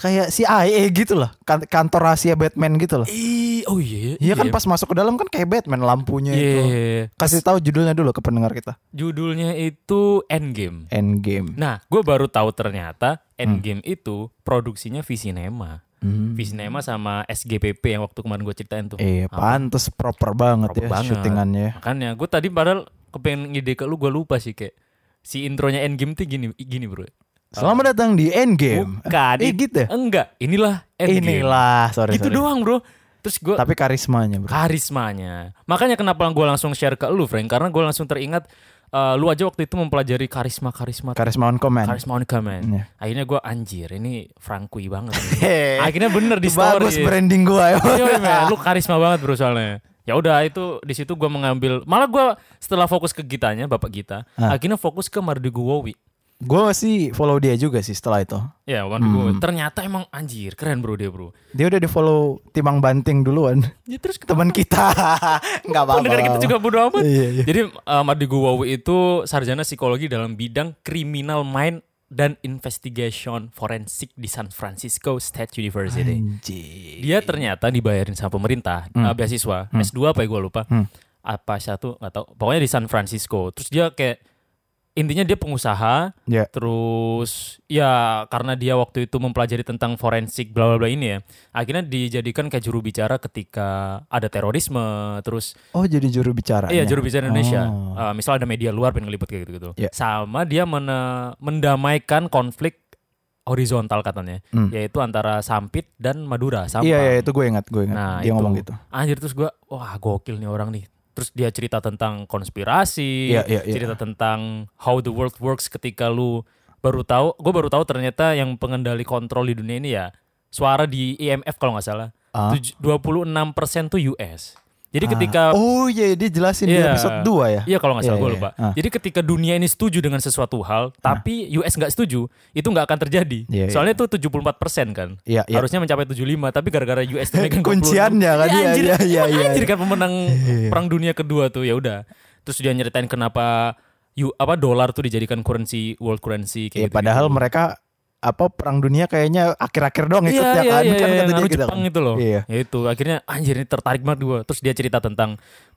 Speaker 3: kayak CIA gitu loh, kan- kantor rahasia Batman gitu loh.
Speaker 2: Ih, oh iya.
Speaker 3: Iya kan pas masuk ke dalam kan kayak Batman lampunya
Speaker 2: Iya,
Speaker 3: itu.
Speaker 2: iya, iya.
Speaker 3: Kasih tahu judulnya dulu ke pendengar kita.
Speaker 2: Judulnya itu Endgame.
Speaker 3: Endgame.
Speaker 2: Nah, gue baru tahu ternyata Endgame itu produksinya Visinema.
Speaker 3: Hmm.
Speaker 2: Visinema sama SGPP yang waktu kemarin gue ceritain tuh.
Speaker 3: Eh, pantes proper banget
Speaker 2: Proper
Speaker 3: ya
Speaker 2: banget. Ah.
Speaker 3: syutingannya.
Speaker 2: Makanya gue tadi padahal kepengen ngide ke lu gue lupa sih kayak si intronya Endgame tuh gini gini bro.
Speaker 3: Selamat datang di Endgame.
Speaker 2: Bukan.
Speaker 3: Eh,
Speaker 2: it-
Speaker 3: gitu. ya?
Speaker 2: Enggak. Inilah Endgame.
Speaker 3: Inilah, sorry.
Speaker 2: Gitu
Speaker 3: sorry.
Speaker 2: doang bro. Terus gue
Speaker 3: Tapi karismanya, Bro.
Speaker 2: karismanya. Makanya kenapa gue langsung share ke lu, Frank? Karena gue langsung teringat eh, lu aja waktu itu mempelajari karisma karisma
Speaker 3: Karisma on command.
Speaker 2: karisma Monica man.
Speaker 3: Iya.
Speaker 2: Akhirnya gue anjir, ini Frankui banget.
Speaker 3: (laughs) Hehehe.
Speaker 2: Akhirnya bener di story. Iya,
Speaker 3: Bagus
Speaker 2: (laughs)
Speaker 3: branding gua ya.
Speaker 2: Yoi, man. lu karisma banget bro soalnya. Ya udah itu di situ gue mengambil. Malah gue setelah fokus ke gitanya, bapak gita,
Speaker 3: Ah.
Speaker 2: akhirnya fokus ke Mardigu Wowi.
Speaker 3: Gue sih follow dia juga sih setelah itu.
Speaker 2: Ya,
Speaker 3: Hmm.
Speaker 2: Mardigu Wowi. Ternyata emang anjir, keren bro dia bro.
Speaker 3: Dia udah di follow Timang Banting duluan.
Speaker 2: Ya terus ke
Speaker 3: Teman kita. (laughs) Enggak apa-apa.
Speaker 2: pendengar kita juga bodo amat.
Speaker 3: Iya, iya.
Speaker 2: Jadi uh, Mardigu Wawi itu sarjana psikologi dalam bidang criminal mind dan investigation forensik di San Francisco State University.
Speaker 3: Anjir.
Speaker 2: Dia ternyata dibayarin sama pemerintah,
Speaker 3: Hmm.
Speaker 2: uh, beasiswa S2 apa ya gue lupa, apa satu nggak tahu. Pokoknya di San Francisco. Terus dia kayak intinya dia pengusaha.
Speaker 3: Ya.
Speaker 2: Terus ya karena dia waktu itu mempelajari tentang forensik bla bla bla ini ya, akhirnya dijadikan kayak juru bicara ketika ada terorisme, terus
Speaker 3: Oh jadi juru bicara.
Speaker 2: Iya juru bicara Indonesia.
Speaker 3: Oh.
Speaker 2: Eh, misal ada media luar pengen ngeliput kayak gitu-gitu.
Speaker 3: Iya.
Speaker 2: Sama dia mene- mendamaikan konflik horizontal katanya,
Speaker 3: Hmm.
Speaker 2: yaitu antara Sampit dan Madura. Sampang.
Speaker 3: Iya iya itu gue ingat gue ingat.
Speaker 2: Nah,
Speaker 3: dia
Speaker 2: itu.
Speaker 3: ngomong gitu.
Speaker 2: Anjir terus gua wah gokil nih orang nih. Terus dia cerita tentang konspirasi,
Speaker 3: Iya, iya, iya.
Speaker 2: cerita tentang how the world works ketika lu baru tahu, gue baru tahu ternyata yang pengendali kontrol di dunia ini ya suara di IMF kalau nggak salah.
Speaker 3: Ah.
Speaker 2: Tuj- 26% tuh US. Jadi ketika
Speaker 3: Ah. oh iya dia jelasin di
Speaker 2: Iya.
Speaker 3: episode 2 ya. (laughs)
Speaker 2: Iya kalau nggak salah
Speaker 3: Iya,
Speaker 2: gue
Speaker 3: iya,
Speaker 2: lupa.
Speaker 3: iya. Ah.
Speaker 2: Jadi ketika dunia ini setuju dengan sesuatu hal, tapi US nggak setuju, itu nggak akan terjadi.
Speaker 3: Iya, iya.
Speaker 2: Soalnya itu 74 persen kan.
Speaker 3: Iya, iya.
Speaker 2: Harusnya mencapai 75, tapi gara-gara US itu megang 26.
Speaker 3: (laughs) Kunciannya kan,
Speaker 2: Iya,
Speaker 3: iya,
Speaker 2: anjir,
Speaker 3: iya, iya,
Speaker 2: Emang
Speaker 3: iya.
Speaker 2: anjir kan pemenang perang dunia kedua tuh ya udah. Terus dia nyeritain kenapa you apa dolar tuh dijadikan currency world currency
Speaker 3: Ya,
Speaker 2: kayak gitu.
Speaker 3: padahal mereka apa perang dunia kayaknya akhir-akhir doang ikutnya kan kan
Speaker 2: iya,
Speaker 3: kata dia
Speaker 2: ngaruh
Speaker 3: gitu
Speaker 2: Jepang
Speaker 3: kan.
Speaker 2: itu loh.
Speaker 3: Iya.
Speaker 2: Ya itu akhirnya anjir ini tertarik banget gue. Terus dia cerita tentang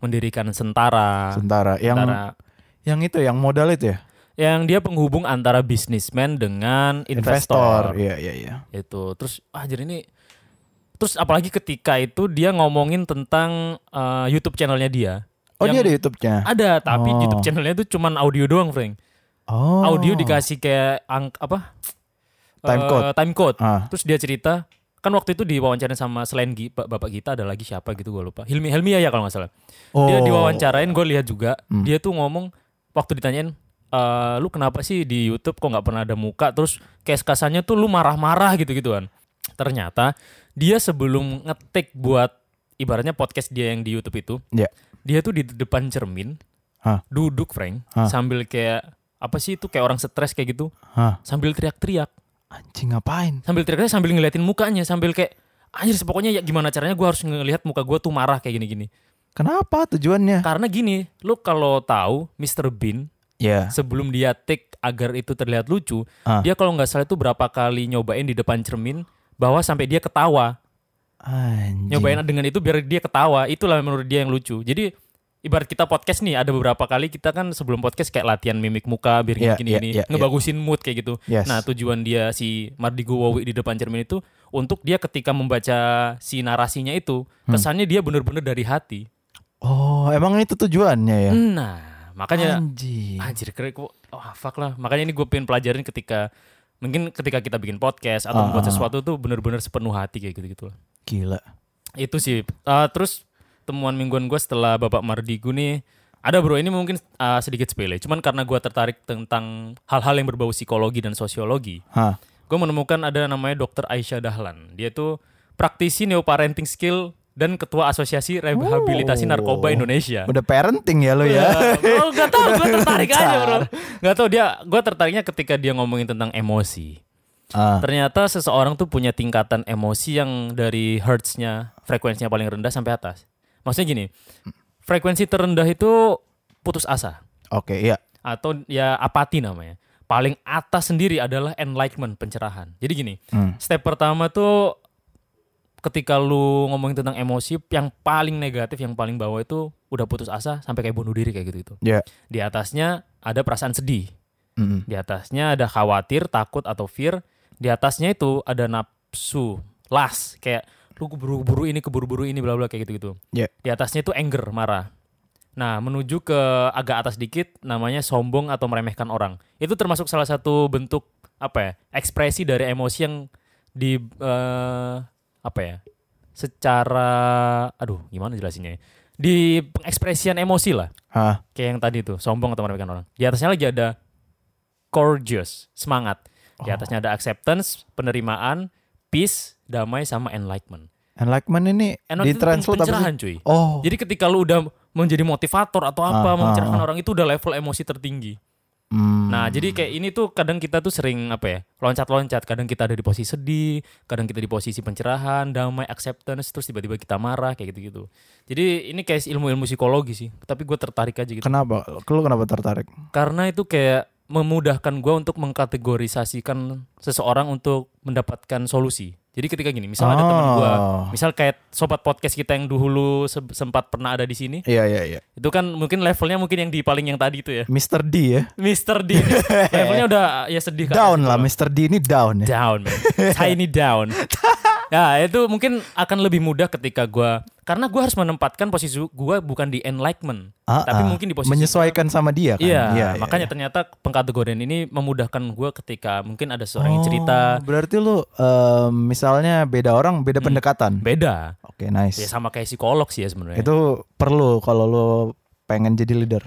Speaker 2: mendirikan Sentara.
Speaker 3: Sementara yang
Speaker 2: Sentara
Speaker 3: yang itu yang modal itu ya
Speaker 2: yang dia penghubung antara bisnismen dengan investor,
Speaker 3: Iya iya iya.
Speaker 2: itu terus ah jadi ini terus apalagi ketika itu dia ngomongin tentang eh, YouTube channelnya dia
Speaker 3: Oh
Speaker 2: Yang
Speaker 3: dia ada YouTube-nya.
Speaker 2: ada tapi
Speaker 3: Oh.
Speaker 2: YouTube channelnya itu cuman audio doang Frank
Speaker 3: Oh.
Speaker 2: audio dikasih kayak ang apa
Speaker 3: Time
Speaker 2: Eh,
Speaker 3: code.
Speaker 2: time code
Speaker 3: Ah.
Speaker 2: terus dia cerita kan waktu itu diwawancara sama selain Gi- Bap- bapak kita ada lagi siapa gitu gue lupa Hilmi Helmi ya kalau nggak salah dia
Speaker 3: Oh. Hmm.
Speaker 2: diwawancarain gue lihat juga dia tuh ngomong waktu ditanyain "Eh, lu kenapa sih di YouTube kok nggak pernah ada muka terus kayak kasannya tuh lu marah-marah gitu gituan ternyata dia sebelum ngetik buat ibaratnya podcast dia yang di YouTube itu
Speaker 3: Ya.
Speaker 2: dia tuh di depan cermin
Speaker 3: Hah.
Speaker 2: duduk Frank
Speaker 3: Hah.
Speaker 2: sambil kayak apa sih itu kayak orang stres kayak gitu
Speaker 3: Hah,
Speaker 2: sambil teriak-teriak
Speaker 3: anjing ngapain?
Speaker 2: sambil teriak sambil ngeliatin mukanya sambil kayak anjir pokoknya ya gimana caranya gue harus ngelihat muka gue tuh marah kayak gini-gini
Speaker 3: Kenapa tujuannya?
Speaker 2: karena gini, lu kalau tahu Mr. Bean
Speaker 3: Ya.
Speaker 2: sebelum dia take agar itu terlihat lucu,
Speaker 3: Ah.
Speaker 2: dia kalau nggak salah itu berapa kali nyobain di depan cermin bahwa sampai dia ketawa.
Speaker 3: Anjing.
Speaker 2: Nyobain dengan itu biar dia ketawa. Itulah menurut dia yang lucu. Jadi ibarat kita podcast nih ada beberapa kali kita kan sebelum podcast kayak latihan mimik muka biar
Speaker 3: Iya,
Speaker 2: gini-gini
Speaker 3: iya, iya,
Speaker 2: ngebagusin mood kayak gitu.
Speaker 3: Yes.
Speaker 2: Nah, tujuan dia si Mardigo Wawi di depan cermin itu untuk dia ketika membaca si narasinya itu
Speaker 3: Hmm.
Speaker 2: kesannya dia bener-bener dari hati.
Speaker 3: Oh, emang itu tujuannya ya?
Speaker 2: Nah, makanya
Speaker 3: Anjing.
Speaker 2: Anjir keren kok. Wah, fuck lah. Makanya ini gue pengen pelajarin ketika mungkin ketika kita bikin podcast
Speaker 3: Ah,
Speaker 2: atau membuat sesuatu tuh bener-bener sepenuh hati kayak gitu-gitu lah.
Speaker 3: Gila.
Speaker 2: Itu sih. Eh, terus temuan mingguan gue setelah Bapak Mardigu nih ada bro ini mungkin eh, sedikit sepele. Cuman karena gue tertarik tentang hal-hal yang berbau psikologi dan sosiologi,
Speaker 3: Hah.
Speaker 2: gue menemukan ada namanya Dr. Aisyah Dahlan. Dia tuh praktisi neoparenting skill dan ketua asosiasi rehabilitasi narkoba Indonesia.
Speaker 3: Oh. Udah parenting ya lo ya?
Speaker 2: Oh, gak tau, gue tertarik aja bro. Gak tau dia, gue tertariknya ketika dia ngomongin tentang emosi.
Speaker 3: Ah.
Speaker 2: Ternyata seseorang tuh punya tingkatan emosi yang dari hertznya, frekuensinya paling rendah sampai atas. Maksudnya gini, frekuensi terendah itu putus asa
Speaker 3: Oke, iya.
Speaker 2: atau ya apati namanya. Paling atas sendiri adalah enlightenment, pencerahan. Jadi gini,
Speaker 3: Hmm.
Speaker 2: step pertama tuh ketika lu ngomongin tentang emosi yang paling negatif, yang paling bawah itu udah putus asa sampai kayak bunuh diri kayak gitu-gitu.
Speaker 3: Ya.
Speaker 2: Di atasnya ada perasaan sedih,
Speaker 3: Mm-mm.
Speaker 2: di atasnya ada khawatir, takut atau fear. Di atasnya itu ada nafsu, las, kayak lu keburu-buru ini, keburu-buru ini, bla bla kayak gitu-gitu.
Speaker 3: Ya.
Speaker 2: Di atasnya itu anger, marah. Nah, menuju ke agak atas dikit namanya sombong atau meremehkan orang. Itu termasuk salah satu bentuk apa ya? Ekspresi dari emosi yang di eh, apa ya? Secara aduh, gimana jelasinnya ya? Di pengekspresian emosi lah
Speaker 3: Hah.
Speaker 2: kayak yang tadi tuh sombong atau meremehkan orang di atasnya lagi ada courageous semangat di
Speaker 3: Oh.
Speaker 2: atasnya ada acceptance penerimaan peace damai sama enlightenment
Speaker 3: Enlightenment ini
Speaker 2: enlightenment itu
Speaker 3: ditranslate apa sih?
Speaker 2: pencerahan cuy
Speaker 3: Oh.
Speaker 2: jadi ketika lu udah menjadi motivator atau apa
Speaker 3: Ah,
Speaker 2: mencerahkan
Speaker 3: ah,
Speaker 2: orang itu udah level emosi tertinggi
Speaker 3: Hmm.
Speaker 2: nah jadi kayak ini tuh kadang kita tuh sering apa ya loncat-loncat kadang kita ada di posisi sedih kadang kita di posisi pencerahan damai acceptance terus tiba-tiba kita marah kayak gitu-gitu jadi ini kayak ilmu-ilmu psikologi sih tapi gue tertarik aja gitu
Speaker 3: Kenapa? Lu kenapa tertarik?
Speaker 2: karena itu kayak memudahkan gue untuk mengkategorisasikan seseorang untuk mendapatkan solusi. Jadi ketika gini, misal ada teman gue,
Speaker 3: Oh.
Speaker 2: misal kayak sobat podcast kita yang dulu se- sempat pernah ada di sini,
Speaker 3: Iya, iya, iya.
Speaker 2: itu kan mungkin levelnya mungkin yang di paling yang tadi itu ya,
Speaker 3: Mr. D ya.
Speaker 2: Mister
Speaker 3: (laughs)
Speaker 2: D, levelnya udah ya sedih kan.
Speaker 3: Down lah, Mr. D ini down ya.
Speaker 2: (laughs) down, man. tiny down.
Speaker 3: (laughs)
Speaker 2: Ya itu mungkin akan lebih mudah ketika gue, karena gue harus menempatkan posisi gue bukan di enlightenment,
Speaker 3: Ah,
Speaker 2: tapi
Speaker 3: ah.
Speaker 2: mungkin di posisi
Speaker 3: menyesuaikan sama dia kan.
Speaker 2: Iya, makanya ternyata pengkategorian ini memudahkan gue ketika mungkin ada seorang yang cerita
Speaker 3: Oh, berarti lu eh, misalnya beda orang,
Speaker 2: Hmm.
Speaker 3: beda pendekatan.
Speaker 2: beda.
Speaker 3: Oke, nice.
Speaker 2: Ya sama kayak psikolog sih ya sebenarnya.
Speaker 3: Itu perlu kalau lu pengen jadi leader.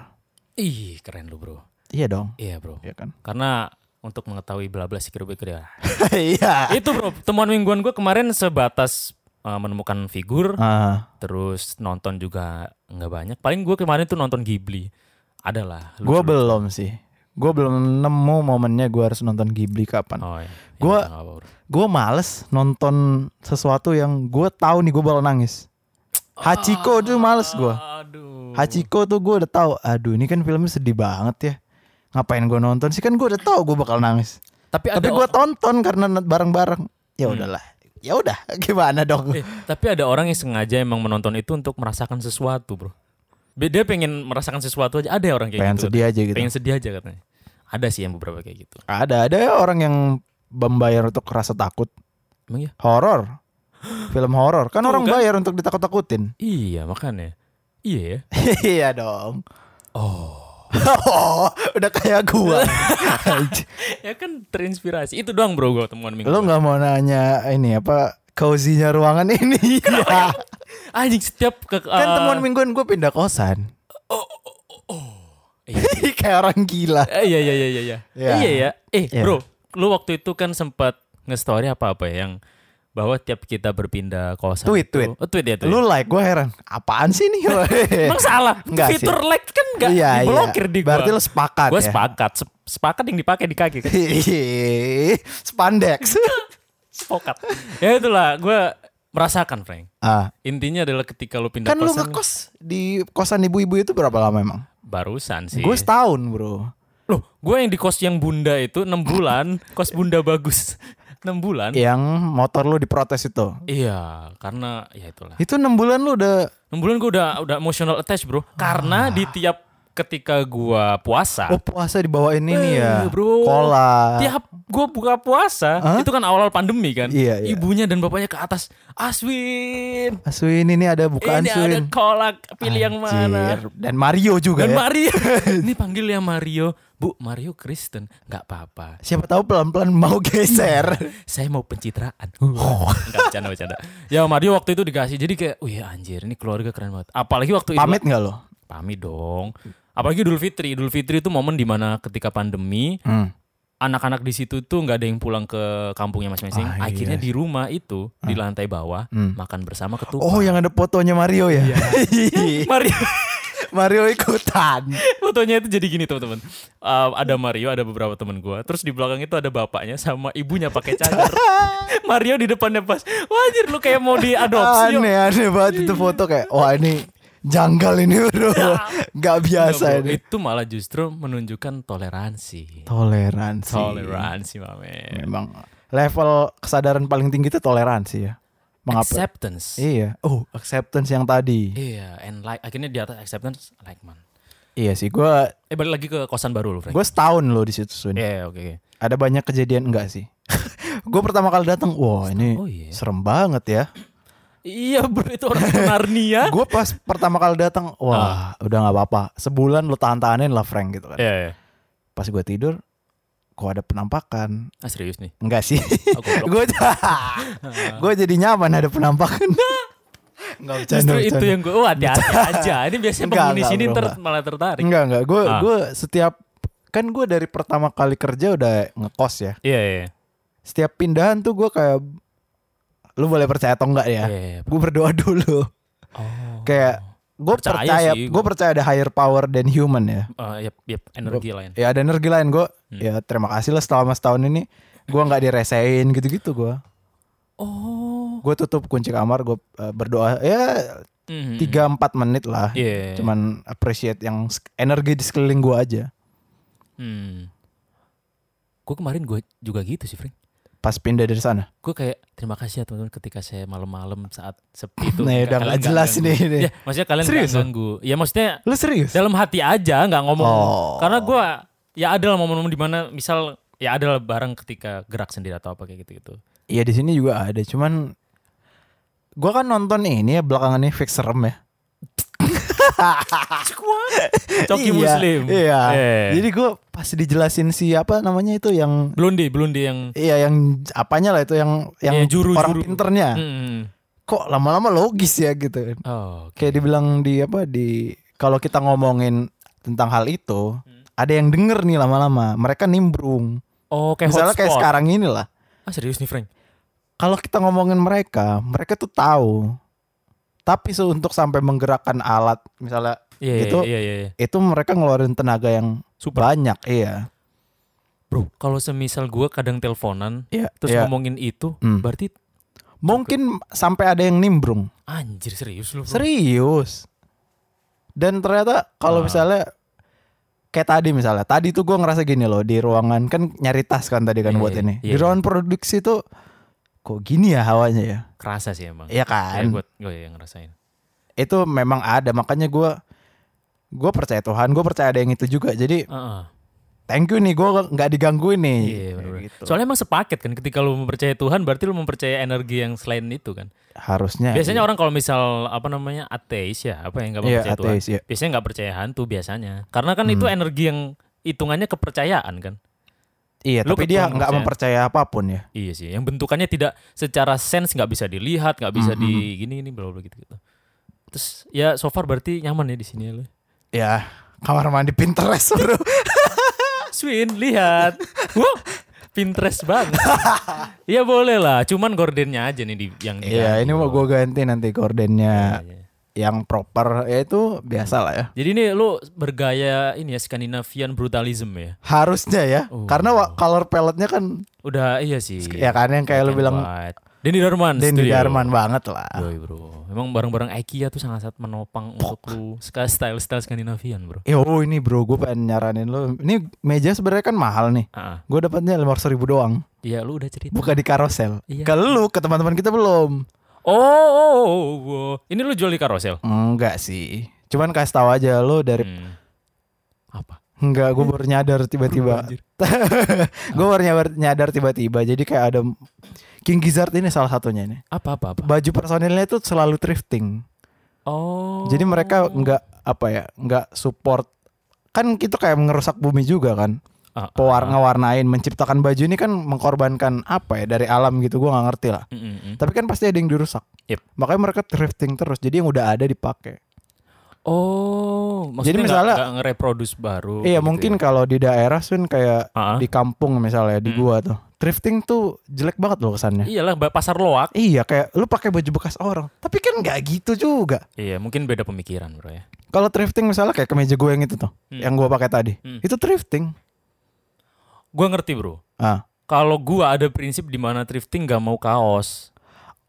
Speaker 2: Ih, keren lu, Bro.
Speaker 3: Iya dong.
Speaker 2: Iya, Bro.
Speaker 3: Iya kan?
Speaker 2: Karena untuk mengetahui bla bla sikir ya.
Speaker 3: Iya.
Speaker 2: Itu, Bro. Temuan mingguan gue kemarin sebatas uh, menemukan figur,
Speaker 3: Ah,
Speaker 2: terus nonton juga nggak banyak. Paling gue kemarin tuh nonton Ghibli. Adalah.
Speaker 3: gue belum sih. Gue belum nemu momennya gue harus nonton Ghibli kapan.
Speaker 2: Oh, iya.
Speaker 3: Gua-
Speaker 2: Ya, nggak apa-apa, Bro.
Speaker 3: Gue males nonton sesuatu yang gue tahu nih gue bakal nangis. Hachiko tuh males gue.
Speaker 2: Aduh.
Speaker 3: Hachiko tuh gue udah tahu. Aduh ini kan filmnya sedih banget ya. Ngapain gue nonton sih kan gue udah tahu gue bakal nangis.
Speaker 2: Tapi ada
Speaker 3: Tapi gue tonton karena bareng-bareng. Ya udahlah. Ya udah. (laughs) Gimana dong?
Speaker 2: Eh, tapi ada orang yang sengaja emang menonton itu untuk merasakan sesuatu, bro. Be- Dia pengen merasakan sesuatu aja. Ada orang kayak
Speaker 3: Pengen
Speaker 2: gitu.
Speaker 3: sedih aja gitu.
Speaker 2: Pengen sedih aja katanya. Ada sih yang beberapa kayak gitu.
Speaker 3: Ada ada ya orang yang membayar untuk rasa takut.
Speaker 2: Emang ya?
Speaker 3: Horor. Film horor. Kan
Speaker 2: Tuh,
Speaker 3: orang
Speaker 2: kan?
Speaker 3: bayar untuk ditakut-takutin. (laughs)
Speaker 2: Iya, makanya. Iya ya.
Speaker 3: iya dong. (laughs) Oh. udah kayak
Speaker 2: (laughs)
Speaker 3: gua. Anj-
Speaker 2: (laughs) ya kan terinspirasi. Itu doang bro gue temuan minggu.
Speaker 3: Lu nggak mau nanya ini apa cozy-nya ruangan ini? (laughs) Iya.
Speaker 2: Anjing setiap ke
Speaker 3: kan
Speaker 2: eh, Oh,
Speaker 3: temuan mingguan gue pindah kosan.
Speaker 2: Iya.
Speaker 3: (laughs) kayak orang gila.
Speaker 2: eh, Iya iya iya iya. iya.
Speaker 3: Iya.
Speaker 2: Iya ya. Eh,
Speaker 3: Iya.
Speaker 2: bro, lu waktu itu kan sempat nge-story apa-apa ya, yang bahwa tiap kita berpindah kosan.
Speaker 3: Tweet,
Speaker 2: itu-
Speaker 3: tweet.
Speaker 2: Oh, tweet ya, tweet.
Speaker 3: Lu like gue heran. Apaan sih
Speaker 2: (laughs)
Speaker 3: nih?
Speaker 2: Emang
Speaker 3: (laughs)
Speaker 2: salah.
Speaker 3: Eh, Enggak sih. Iya,
Speaker 2: Fitur like kan enggak diblokir di gua.
Speaker 3: Berarti lu sepakat
Speaker 2: Gue
Speaker 3: ya.
Speaker 2: sepakat, Sep- sepakat yang dipakai di kaki, kan? (laughs)
Speaker 3: Spandex.
Speaker 2: sepakat. ya itulah, gue merasakan Frank.
Speaker 3: ah,
Speaker 2: Intinya adalah ketika lu pindah
Speaker 3: kan lu
Speaker 2: kosan
Speaker 3: ngekos di kosan ibu-ibu itu berapa lama emang?
Speaker 2: barusan sih.
Speaker 3: Gue setahun bro.
Speaker 2: Loh, gue yang di kos yang bunda itu 6 bulan, kos bunda bagus (laughs) 6 bulan.
Speaker 3: Yang motor lu diprotes itu.
Speaker 2: Iya, karena ya itulah.
Speaker 3: Itu enam bulan lu udah.
Speaker 2: 6 bulan gue udah udah emotional attached, Bro. Karena di tiap ketika gue puasa,
Speaker 3: Oh puasa dibawain ini
Speaker 2: Ah.
Speaker 3: ya.
Speaker 2: Eh, bro.
Speaker 3: Kola.
Speaker 2: tiap gue buka puasa, itu kan awal-awal pandemi kan.
Speaker 3: Iya, iya.
Speaker 2: Ibunya dan bapaknya ke atas, "Aswin,
Speaker 3: Aswin ini ada bukaan
Speaker 2: ini ada
Speaker 3: Swin.
Speaker 2: kolak pilih yang mana
Speaker 3: Anjir. Dan Mario juga
Speaker 2: dan
Speaker 3: ya. (laughs)
Speaker 2: Mario ini panggil ya Mario bu Mario Kristen nggak apa-apa
Speaker 3: Siapa tahu pelan-pelan mau geser.
Speaker 2: (laughs) saya mau pencitraan
Speaker 3: Oh.
Speaker 2: (laughs) nggak bercanda bercanda ya Mario waktu itu dikasih jadi kayak wih anjir ini keluarga keren banget apalagi waktu itu
Speaker 3: Pamit nggak lo?
Speaker 2: pamit dong apalagi Idul Fitri Idul Fitri itu momen dimana ketika pandemi
Speaker 3: Hmm.
Speaker 2: anak-anak di situ tuh nggak ada yang pulang ke kampungnya masing-masing
Speaker 3: Ah, iya. Ah. Hmm.
Speaker 2: akhirnya di rumah itu di lantai bawah makan bersama ketupat
Speaker 3: Oh yang ada fotonya Mario ya.
Speaker 2: Mario
Speaker 3: (laughs)
Speaker 2: (laughs)
Speaker 3: Mario ikutan.
Speaker 2: fotonya itu jadi gini teman-teman Eh, ada Mario ada beberapa teman gua terus di belakang itu ada bapaknya sama ibunya pakai
Speaker 3: (laughs)
Speaker 2: cadar Mario di depannya pas wah anjir lu kayak mau diadopsi yuk."
Speaker 3: Aneh aneh banget itu foto kayak wah ini Janggal ini bro. Gak biasa
Speaker 2: Enggak, Ya. bro.
Speaker 3: ini.
Speaker 2: Itu malah justru menunjukkan toleransi.
Speaker 3: Toleransi.
Speaker 2: Toleransi, ya. mamen.
Speaker 3: Memang level kesadaran paling tinggi itu toleransi ya. Mengapa?
Speaker 2: Acceptance.
Speaker 3: Iya. Oh, acceptance yang tadi.
Speaker 2: Iya, and like akhirnya di atas acceptance like man.
Speaker 3: Iya sih, gua
Speaker 2: Eh balik lagi ke kosan baru lu, Frank.
Speaker 3: gua setahun loh di situ Sun.
Speaker 2: Iya, oke. oke.
Speaker 3: Ada banyak kejadian enggak sih? (laughs) gue pertama kali datang, wah ini
Speaker 2: Oh, iya.
Speaker 3: serem banget ya.
Speaker 2: Iya, bro, itu orang Narnia.
Speaker 3: Gue pas pertama kali datang, wah udah nggak apa-apa. Sebulan lo tahan-tahanin lah Frank gitu kan.
Speaker 2: Ah. Iya, iya.
Speaker 3: Pas gue tidur, kok ada penampakan?
Speaker 2: Ah, serius nih.
Speaker 3: Enggak sih.
Speaker 2: Oh,
Speaker 3: (laughs)
Speaker 2: goblok.
Speaker 3: gue gue jadi nyaman ada
Speaker 2: (laughs)
Speaker 3: penampakan. Enggak bercanda.
Speaker 2: Justru itu
Speaker 3: bercanda.
Speaker 2: yang gue, oh hati-hati aja. Ini biasanya
Speaker 3: Enggak,
Speaker 2: penghuni
Speaker 3: enggak,
Speaker 2: sini
Speaker 3: bro,
Speaker 2: ntar
Speaker 3: enggak.
Speaker 2: malah tertarik.
Speaker 3: Enggak enggak, gue
Speaker 2: Ah.
Speaker 3: gue setiap kan gue dari pertama kali kerja udah ngekos ya.
Speaker 2: Iya, iya.
Speaker 3: Setiap pindahan tuh gue kayak lu boleh percaya atau enggak ya?
Speaker 2: Iya, iya.
Speaker 3: Gue berdoa (laughs) dulu.
Speaker 2: Oh.
Speaker 3: Kayak gue
Speaker 2: Percaya
Speaker 3: percaya,
Speaker 2: sih,
Speaker 3: gue
Speaker 2: gua.
Speaker 3: percaya ada higher power than human ya.
Speaker 2: Eh, yep, yep, energi lain.
Speaker 3: Ya ada energi lain gue.
Speaker 2: Hmm.
Speaker 3: Ya terima kasih lah selama setahun ini gue nggak diresein gitu-gitu gue.
Speaker 2: Oh.
Speaker 3: Gue tutup kunci kamar, gue berdoa ya
Speaker 2: Mhm.
Speaker 3: tiga empat menit lah.
Speaker 2: Iya.
Speaker 3: Cuman appreciate yang sek- energi di sekeliling gue aja.
Speaker 2: Hmm. Gue kemarin gue juga gitu sih, Frank.
Speaker 3: Pas pindah dari sana.
Speaker 2: Gue kayak terima kasih ya teman-teman ketika saya malam-malam saat sepi itu.
Speaker 3: Nah, udah
Speaker 2: kalian
Speaker 3: nggak jelas
Speaker 2: ganggu.
Speaker 3: nih ini.
Speaker 2: Ya, maksudnya kalian
Speaker 3: Serius,
Speaker 2: nggak ganggu. Ya maksudnya
Speaker 3: Lu serius?
Speaker 2: dalam hati aja nggak ngomong.
Speaker 3: Oh.
Speaker 2: Karena gue ya ada lah momen-momen dimana misal ya ada lah barang ketika gerak sendiri atau apa kayak gitu-gitu.
Speaker 3: Iya di sini juga ada, cuman gua kan nonton ini ya belakangan ini fix serem ya.
Speaker 2: Coki
Speaker 3: Iya,
Speaker 2: Muslim. Eh.
Speaker 3: Iya.
Speaker 2: Yeah.
Speaker 3: Jadi gua pas dijelasin siapa namanya itu yang
Speaker 2: Blundi, Blundi yang
Speaker 3: iya yang apanya lah itu yang yang
Speaker 2: Iya, juru,
Speaker 3: orang
Speaker 2: juru.
Speaker 3: pinternya.
Speaker 2: Hmm.
Speaker 3: Kok lama-lama logis ya gitu.
Speaker 2: Oh, oke.
Speaker 3: Kayak dibilang di apa di kalau kita ngomongin tentang hal itu,
Speaker 2: Hmm.
Speaker 3: ada yang denger nih lama-lama. Mereka nimbrung.
Speaker 2: Oh, kayak
Speaker 3: Misalnya kayak
Speaker 2: hotspot.
Speaker 3: sekarang inilah.
Speaker 2: Ah, serius nih, Frank.
Speaker 3: kalau kita ngomongin mereka, mereka tuh tahu. Tapi se- untuk sampai menggerakkan alat, misalnya
Speaker 2: Iya, iya,
Speaker 3: Gitu.
Speaker 2: iya, iya, iya.
Speaker 3: itu mereka ngeluarin tenaga yang
Speaker 2: Super.
Speaker 3: banyak, iya.
Speaker 2: Bro, kalau semisal gue kadang teleponan,
Speaker 3: Iya.
Speaker 2: terus
Speaker 3: iya.
Speaker 2: ngomongin itu,
Speaker 3: Hmm.
Speaker 2: berarti
Speaker 3: Mungkin sampai ada yang nimbrung.
Speaker 2: anjir serius lu. Bro.
Speaker 3: Serius. Dan ternyata kalau
Speaker 2: Ah.
Speaker 3: misalnya kayak tadi misalnya, tadi tuh gue ngerasa gini loh di ruangan kan nyari tas kan tadi kan
Speaker 2: Iya,
Speaker 3: buat
Speaker 2: iya,
Speaker 3: ini.
Speaker 2: iya,
Speaker 3: Di
Speaker 2: iya.
Speaker 3: ruangan produksi tuh kok gini ya hawanya ya?
Speaker 2: Kerasa sih emang.
Speaker 3: Iya
Speaker 2: Ya,
Speaker 3: kan?
Speaker 2: gue yang ngerasain.
Speaker 3: itu memang ada makanya gue gue percaya Tuhan gue percaya ada yang itu juga jadi
Speaker 2: Heeh.
Speaker 3: thank you nih gue nggak digangguin nih
Speaker 2: Iya, bener-bener.
Speaker 3: Kayak gitu.
Speaker 2: Soalnya emang sepaket kan ketika lu mempercayai Tuhan berarti lu mempercayai energi yang selain itu kan.
Speaker 3: harusnya
Speaker 2: Biasanya orang kalau misal apa namanya ateis ya, apa yang nggak
Speaker 3: Nah, Iya,
Speaker 2: percaya Tuhan.
Speaker 3: ateis, Hmm. iya.
Speaker 2: Biasanya nggak percaya hantu biasanya. Karena kan itu energi yang hitungannya kepercayaan kan.
Speaker 3: iya
Speaker 2: lu
Speaker 3: tapi
Speaker 2: ketemu
Speaker 3: dia nggak
Speaker 2: saya.
Speaker 3: mempercaya apapun ya
Speaker 2: Iya sih, yang bentukannya tidak secara sense nggak bisa dilihat, nggak bisa
Speaker 3: Hmm,
Speaker 2: di gini ini bla bla gitu gitu. Terus ya so far berarti nyaman ya di sini ya lu.
Speaker 3: ya kamar mandi Pinterest
Speaker 2: (laughs)
Speaker 3: bro
Speaker 2: Ah, Swin lihat. Wow, Pinterest
Speaker 3: (laughs)
Speaker 2: banget. Iya boleh lah, cuman gordennya aja nih di yang diganti.
Speaker 3: iya ini mau gue ganti nanti gordennya
Speaker 2: Iya, iya.
Speaker 3: yang proper ya itu biasa lah ya
Speaker 2: Jadi ini lu bergaya ini ya Scandinavian brutalism ya.
Speaker 3: harusnya ya karena wa- color palette-nya kan
Speaker 2: Udah Oh. iya sih.
Speaker 3: ya kan yang kayak
Speaker 2: Black and
Speaker 3: lu bilang
Speaker 2: white. Denny Darman.
Speaker 3: Dendi
Speaker 2: Studio.
Speaker 3: Darman Ah. banget lah
Speaker 2: Yoi, bro. Emang barang-barang IKEA tuh sangat sangat menopang untuk lu ska- style-style Scandinavian, Bro.
Speaker 3: Yo ini bro gue pengen nyaranin lu ini meja sebenarnya kan mahal nih
Speaker 2: Ah, ah.
Speaker 3: gue dapatnya lima ribu doang
Speaker 2: Iya, lu udah cerita.
Speaker 3: buka di karosel.
Speaker 2: Iya.
Speaker 3: Ke lu ke teman-teman kita belum?
Speaker 2: Oh, oh, oh, oh. ini lu jual di karosel?
Speaker 3: Enggak sih. Cuman kasih tahu aja lu dari
Speaker 2: Hmm. Apa?
Speaker 3: enggak gue baru nyadar tiba-tiba.
Speaker 2: Anjir.
Speaker 3: (laughs) gue baru nyadar, nyadar tiba-tiba. Jadi kayak ada King Gizzard ini salah satunya ini.
Speaker 2: Apa apa apa?
Speaker 3: Baju personilnya itu selalu thrifting.
Speaker 2: Oh.
Speaker 3: Jadi mereka enggak apa ya, enggak support kan itu kayak merusak bumi juga kan.
Speaker 2: Ah, ah,
Speaker 3: Pewar
Speaker 2: ah.
Speaker 3: ngewarnain, menciptakan baju ini kan mengkorbankan apa ya dari alam gitu. Gue nggak ngerti lah.
Speaker 2: Mm, mm, mm.
Speaker 3: Tapi kan pasti ada yang dirusak.
Speaker 2: Yep.
Speaker 3: Makanya mereka thrifting terus. Jadi yang udah ada dipakai.
Speaker 2: Oh, maksudnya
Speaker 3: Jadi
Speaker 2: Jadi
Speaker 3: misalnya-
Speaker 2: misalnya nge-reproduce baru.
Speaker 3: Iya
Speaker 2: gitu
Speaker 3: mungkin
Speaker 2: ya?
Speaker 3: kalau di daerah Sun kayak
Speaker 2: Ah, ah.
Speaker 3: di kampung misalnya di
Speaker 2: Hmm. Iya.
Speaker 3: gua tuh thrifting tuh jelek banget loh kesannya.
Speaker 2: Iyalah ba- pasar loak.
Speaker 3: Iya kayak lu pakai baju bekas orang, tapi kan nggak gitu juga.
Speaker 2: Iya, mungkin beda pemikiran, Bro ya.
Speaker 3: Kalau thrifting misalnya kayak kemeja gue yang itu tuh,
Speaker 2: Hmm.
Speaker 3: yang gua pakai tadi,
Speaker 2: Hmm.
Speaker 3: itu thrifting.
Speaker 2: Gua ngerti, Bro.
Speaker 3: Ah.
Speaker 2: Kalau gua ada prinsip di mana thrifting gak mau kaos.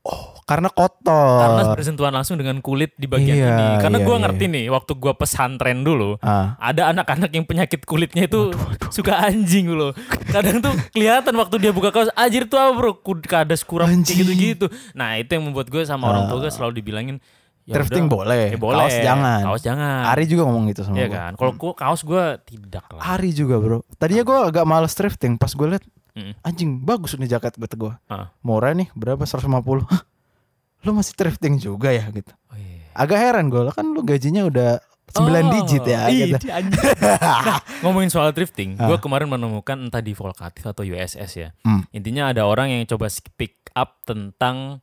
Speaker 3: Oh, karena kotor.
Speaker 2: Karena bersentuhan langsung dengan kulit di bagian
Speaker 3: Oh. Iya,
Speaker 2: ini. Karena
Speaker 3: iya,
Speaker 2: gua
Speaker 3: iya.
Speaker 2: ngerti nih, waktu gua pesantren dulu,
Speaker 3: Ah.
Speaker 2: ada anak-anak yang penyakit kulitnya itu suka anjing loh. Kadang tuh kelihatan waktu dia buka kaos, anjir tuh apa bro, Kud- kadas kurang kayak
Speaker 3: Anjing. Oh.
Speaker 2: gitu-gitu. Nah itu yang membuat gue sama orang tua gue selalu dibilangin, ya
Speaker 3: Thrifting
Speaker 2: udah,
Speaker 3: boleh,
Speaker 2: ya boleh,
Speaker 3: kaos jangan.
Speaker 2: kaos jangan.
Speaker 3: Ari juga ngomong gitu sama
Speaker 2: Iya
Speaker 3: gua.
Speaker 2: kan, kalau gua kaos gue tidak lah.
Speaker 3: Ari juga bro. Tadinya gue agak males thrifting. Pas gue liat,
Speaker 2: Mm.
Speaker 3: anjing bagus nih jaket kata gue.
Speaker 2: Ah.
Speaker 3: Murah nih, berapa? 150. Hah, (laughs) lu masih thrifting juga ya gitu.
Speaker 2: Oh, iya.
Speaker 3: Agak heran gue, kan lu gajinya udah 9
Speaker 2: Oh,
Speaker 3: digit ya.
Speaker 2: ih,
Speaker 3: Gitu. Ah.
Speaker 2: anjing.
Speaker 3: (laughs)
Speaker 2: Nah, ngomongin soal thrifting, gue kemarin menemukan entah di Volkatif atau USS ya.
Speaker 3: Hmm.
Speaker 2: Intinya ada orang yang coba pick up tentang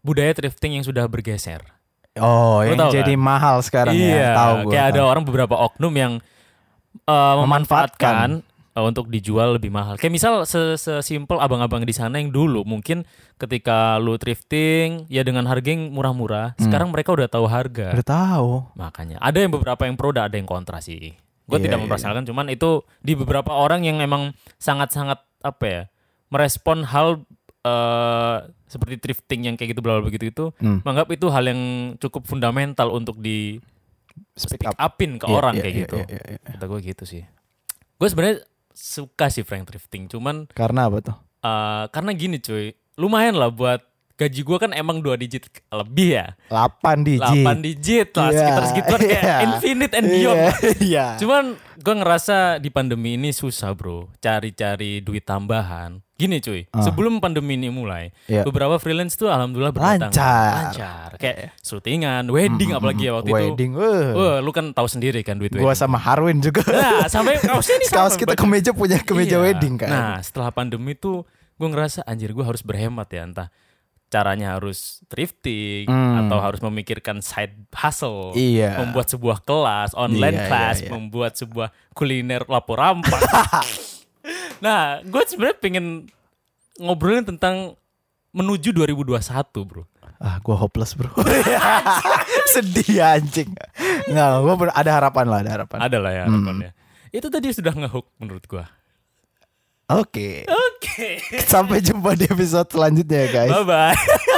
Speaker 2: budaya thrifting yang sudah bergeser.
Speaker 3: Oh,
Speaker 2: Lu
Speaker 3: yang
Speaker 2: tahu kan?
Speaker 3: jadi mahal sekarang
Speaker 2: iya,
Speaker 3: ya. Tahu gue.
Speaker 2: kayak ada orang beberapa oknum yang eh, memanfaatkan eh, untuk dijual lebih mahal. Kayak misal se- sesimpel abang-abang di sana yang dulu mungkin ketika lu thrifting ya dengan harga yang murah-murah,
Speaker 3: Hmm.
Speaker 2: sekarang mereka udah tahu harga.
Speaker 3: Udah tahu.
Speaker 2: Makanya ada yang beberapa yang pro dan ada yang kontra sih. Gue
Speaker 3: Iya,
Speaker 2: tidak
Speaker 3: iya,
Speaker 2: mempersalahkan, cuman itu di beberapa orang yang emang sangat-sangat apa ya merespon hal eh, seperti thrifting yang kayak gitu bla bla begitu itu
Speaker 3: Hmm.
Speaker 2: menganggap itu hal yang cukup fundamental untuk di
Speaker 3: Speak
Speaker 2: pick
Speaker 3: up.
Speaker 2: upin ke
Speaker 3: Iya,
Speaker 2: orang
Speaker 3: iya,
Speaker 2: kayak
Speaker 3: iya,
Speaker 2: gitu.
Speaker 3: iya, iya, iya.
Speaker 2: Kata gue gitu sih. Gue sebenarnya suka sih Frank thrifting, cuman
Speaker 3: Karena apa tuh?
Speaker 2: eh, karena gini cuy, lumayan lah buat gaji gue kan emang dua digit ke- lebih ya.
Speaker 3: 8 digit.
Speaker 2: 8 digit lah
Speaker 3: Iya,
Speaker 2: sekitar segituan kayak
Speaker 3: iya.
Speaker 2: infinite and beyond.
Speaker 3: Iya, (laughs) Iya.
Speaker 2: Cuman gue ngerasa di pandemi ini susah bro Cari-cari duit tambahan Gini cuy Sebelum pandemi ini mulai
Speaker 3: Ah. Iya.
Speaker 2: Beberapa freelance tuh alhamdulillah berdatangan.
Speaker 3: Lancar.
Speaker 2: Lancar Kayak syutingan Wedding apalagi ya waktu
Speaker 3: Wedding.
Speaker 2: itu
Speaker 3: eh.
Speaker 2: Wah, Lu kan tahu sendiri kan duit
Speaker 3: Gua
Speaker 2: wedding
Speaker 3: sama Harwin juga.
Speaker 2: Nah sampai kaosnya ini
Speaker 3: (laughs)
Speaker 2: sama,
Speaker 3: Kaos kita
Speaker 2: Bang.
Speaker 3: kemeja punya kemeja
Speaker 2: Iya.
Speaker 3: wedding kan.
Speaker 2: Nah setelah pandemi tuh Gue ngerasa anjir gue harus berhemat ya Entah caranya harus thrifting atau harus memikirkan side hustle
Speaker 3: Hmm. Iya.
Speaker 2: membuat sebuah kelas online
Speaker 3: Iya, iya,
Speaker 2: class
Speaker 3: iya.
Speaker 2: membuat sebuah kuliner lapor
Speaker 3: (laughs)
Speaker 2: rampak nah gue sebenarnya pengen ngobrolin tentang menuju 2021 bro
Speaker 3: Ah, gue hopeless bro. (laughs) Sedih anjing. Nggak, gue ada harapan lah, ada harapan.
Speaker 2: ada lah ya
Speaker 3: Hmm.
Speaker 2: harapannya itu tadi sudah ngehook menurut gue
Speaker 3: Oke,
Speaker 2: oke
Speaker 3: e sampai jumpa di episode selanjutnya e, guys.
Speaker 2: bye bye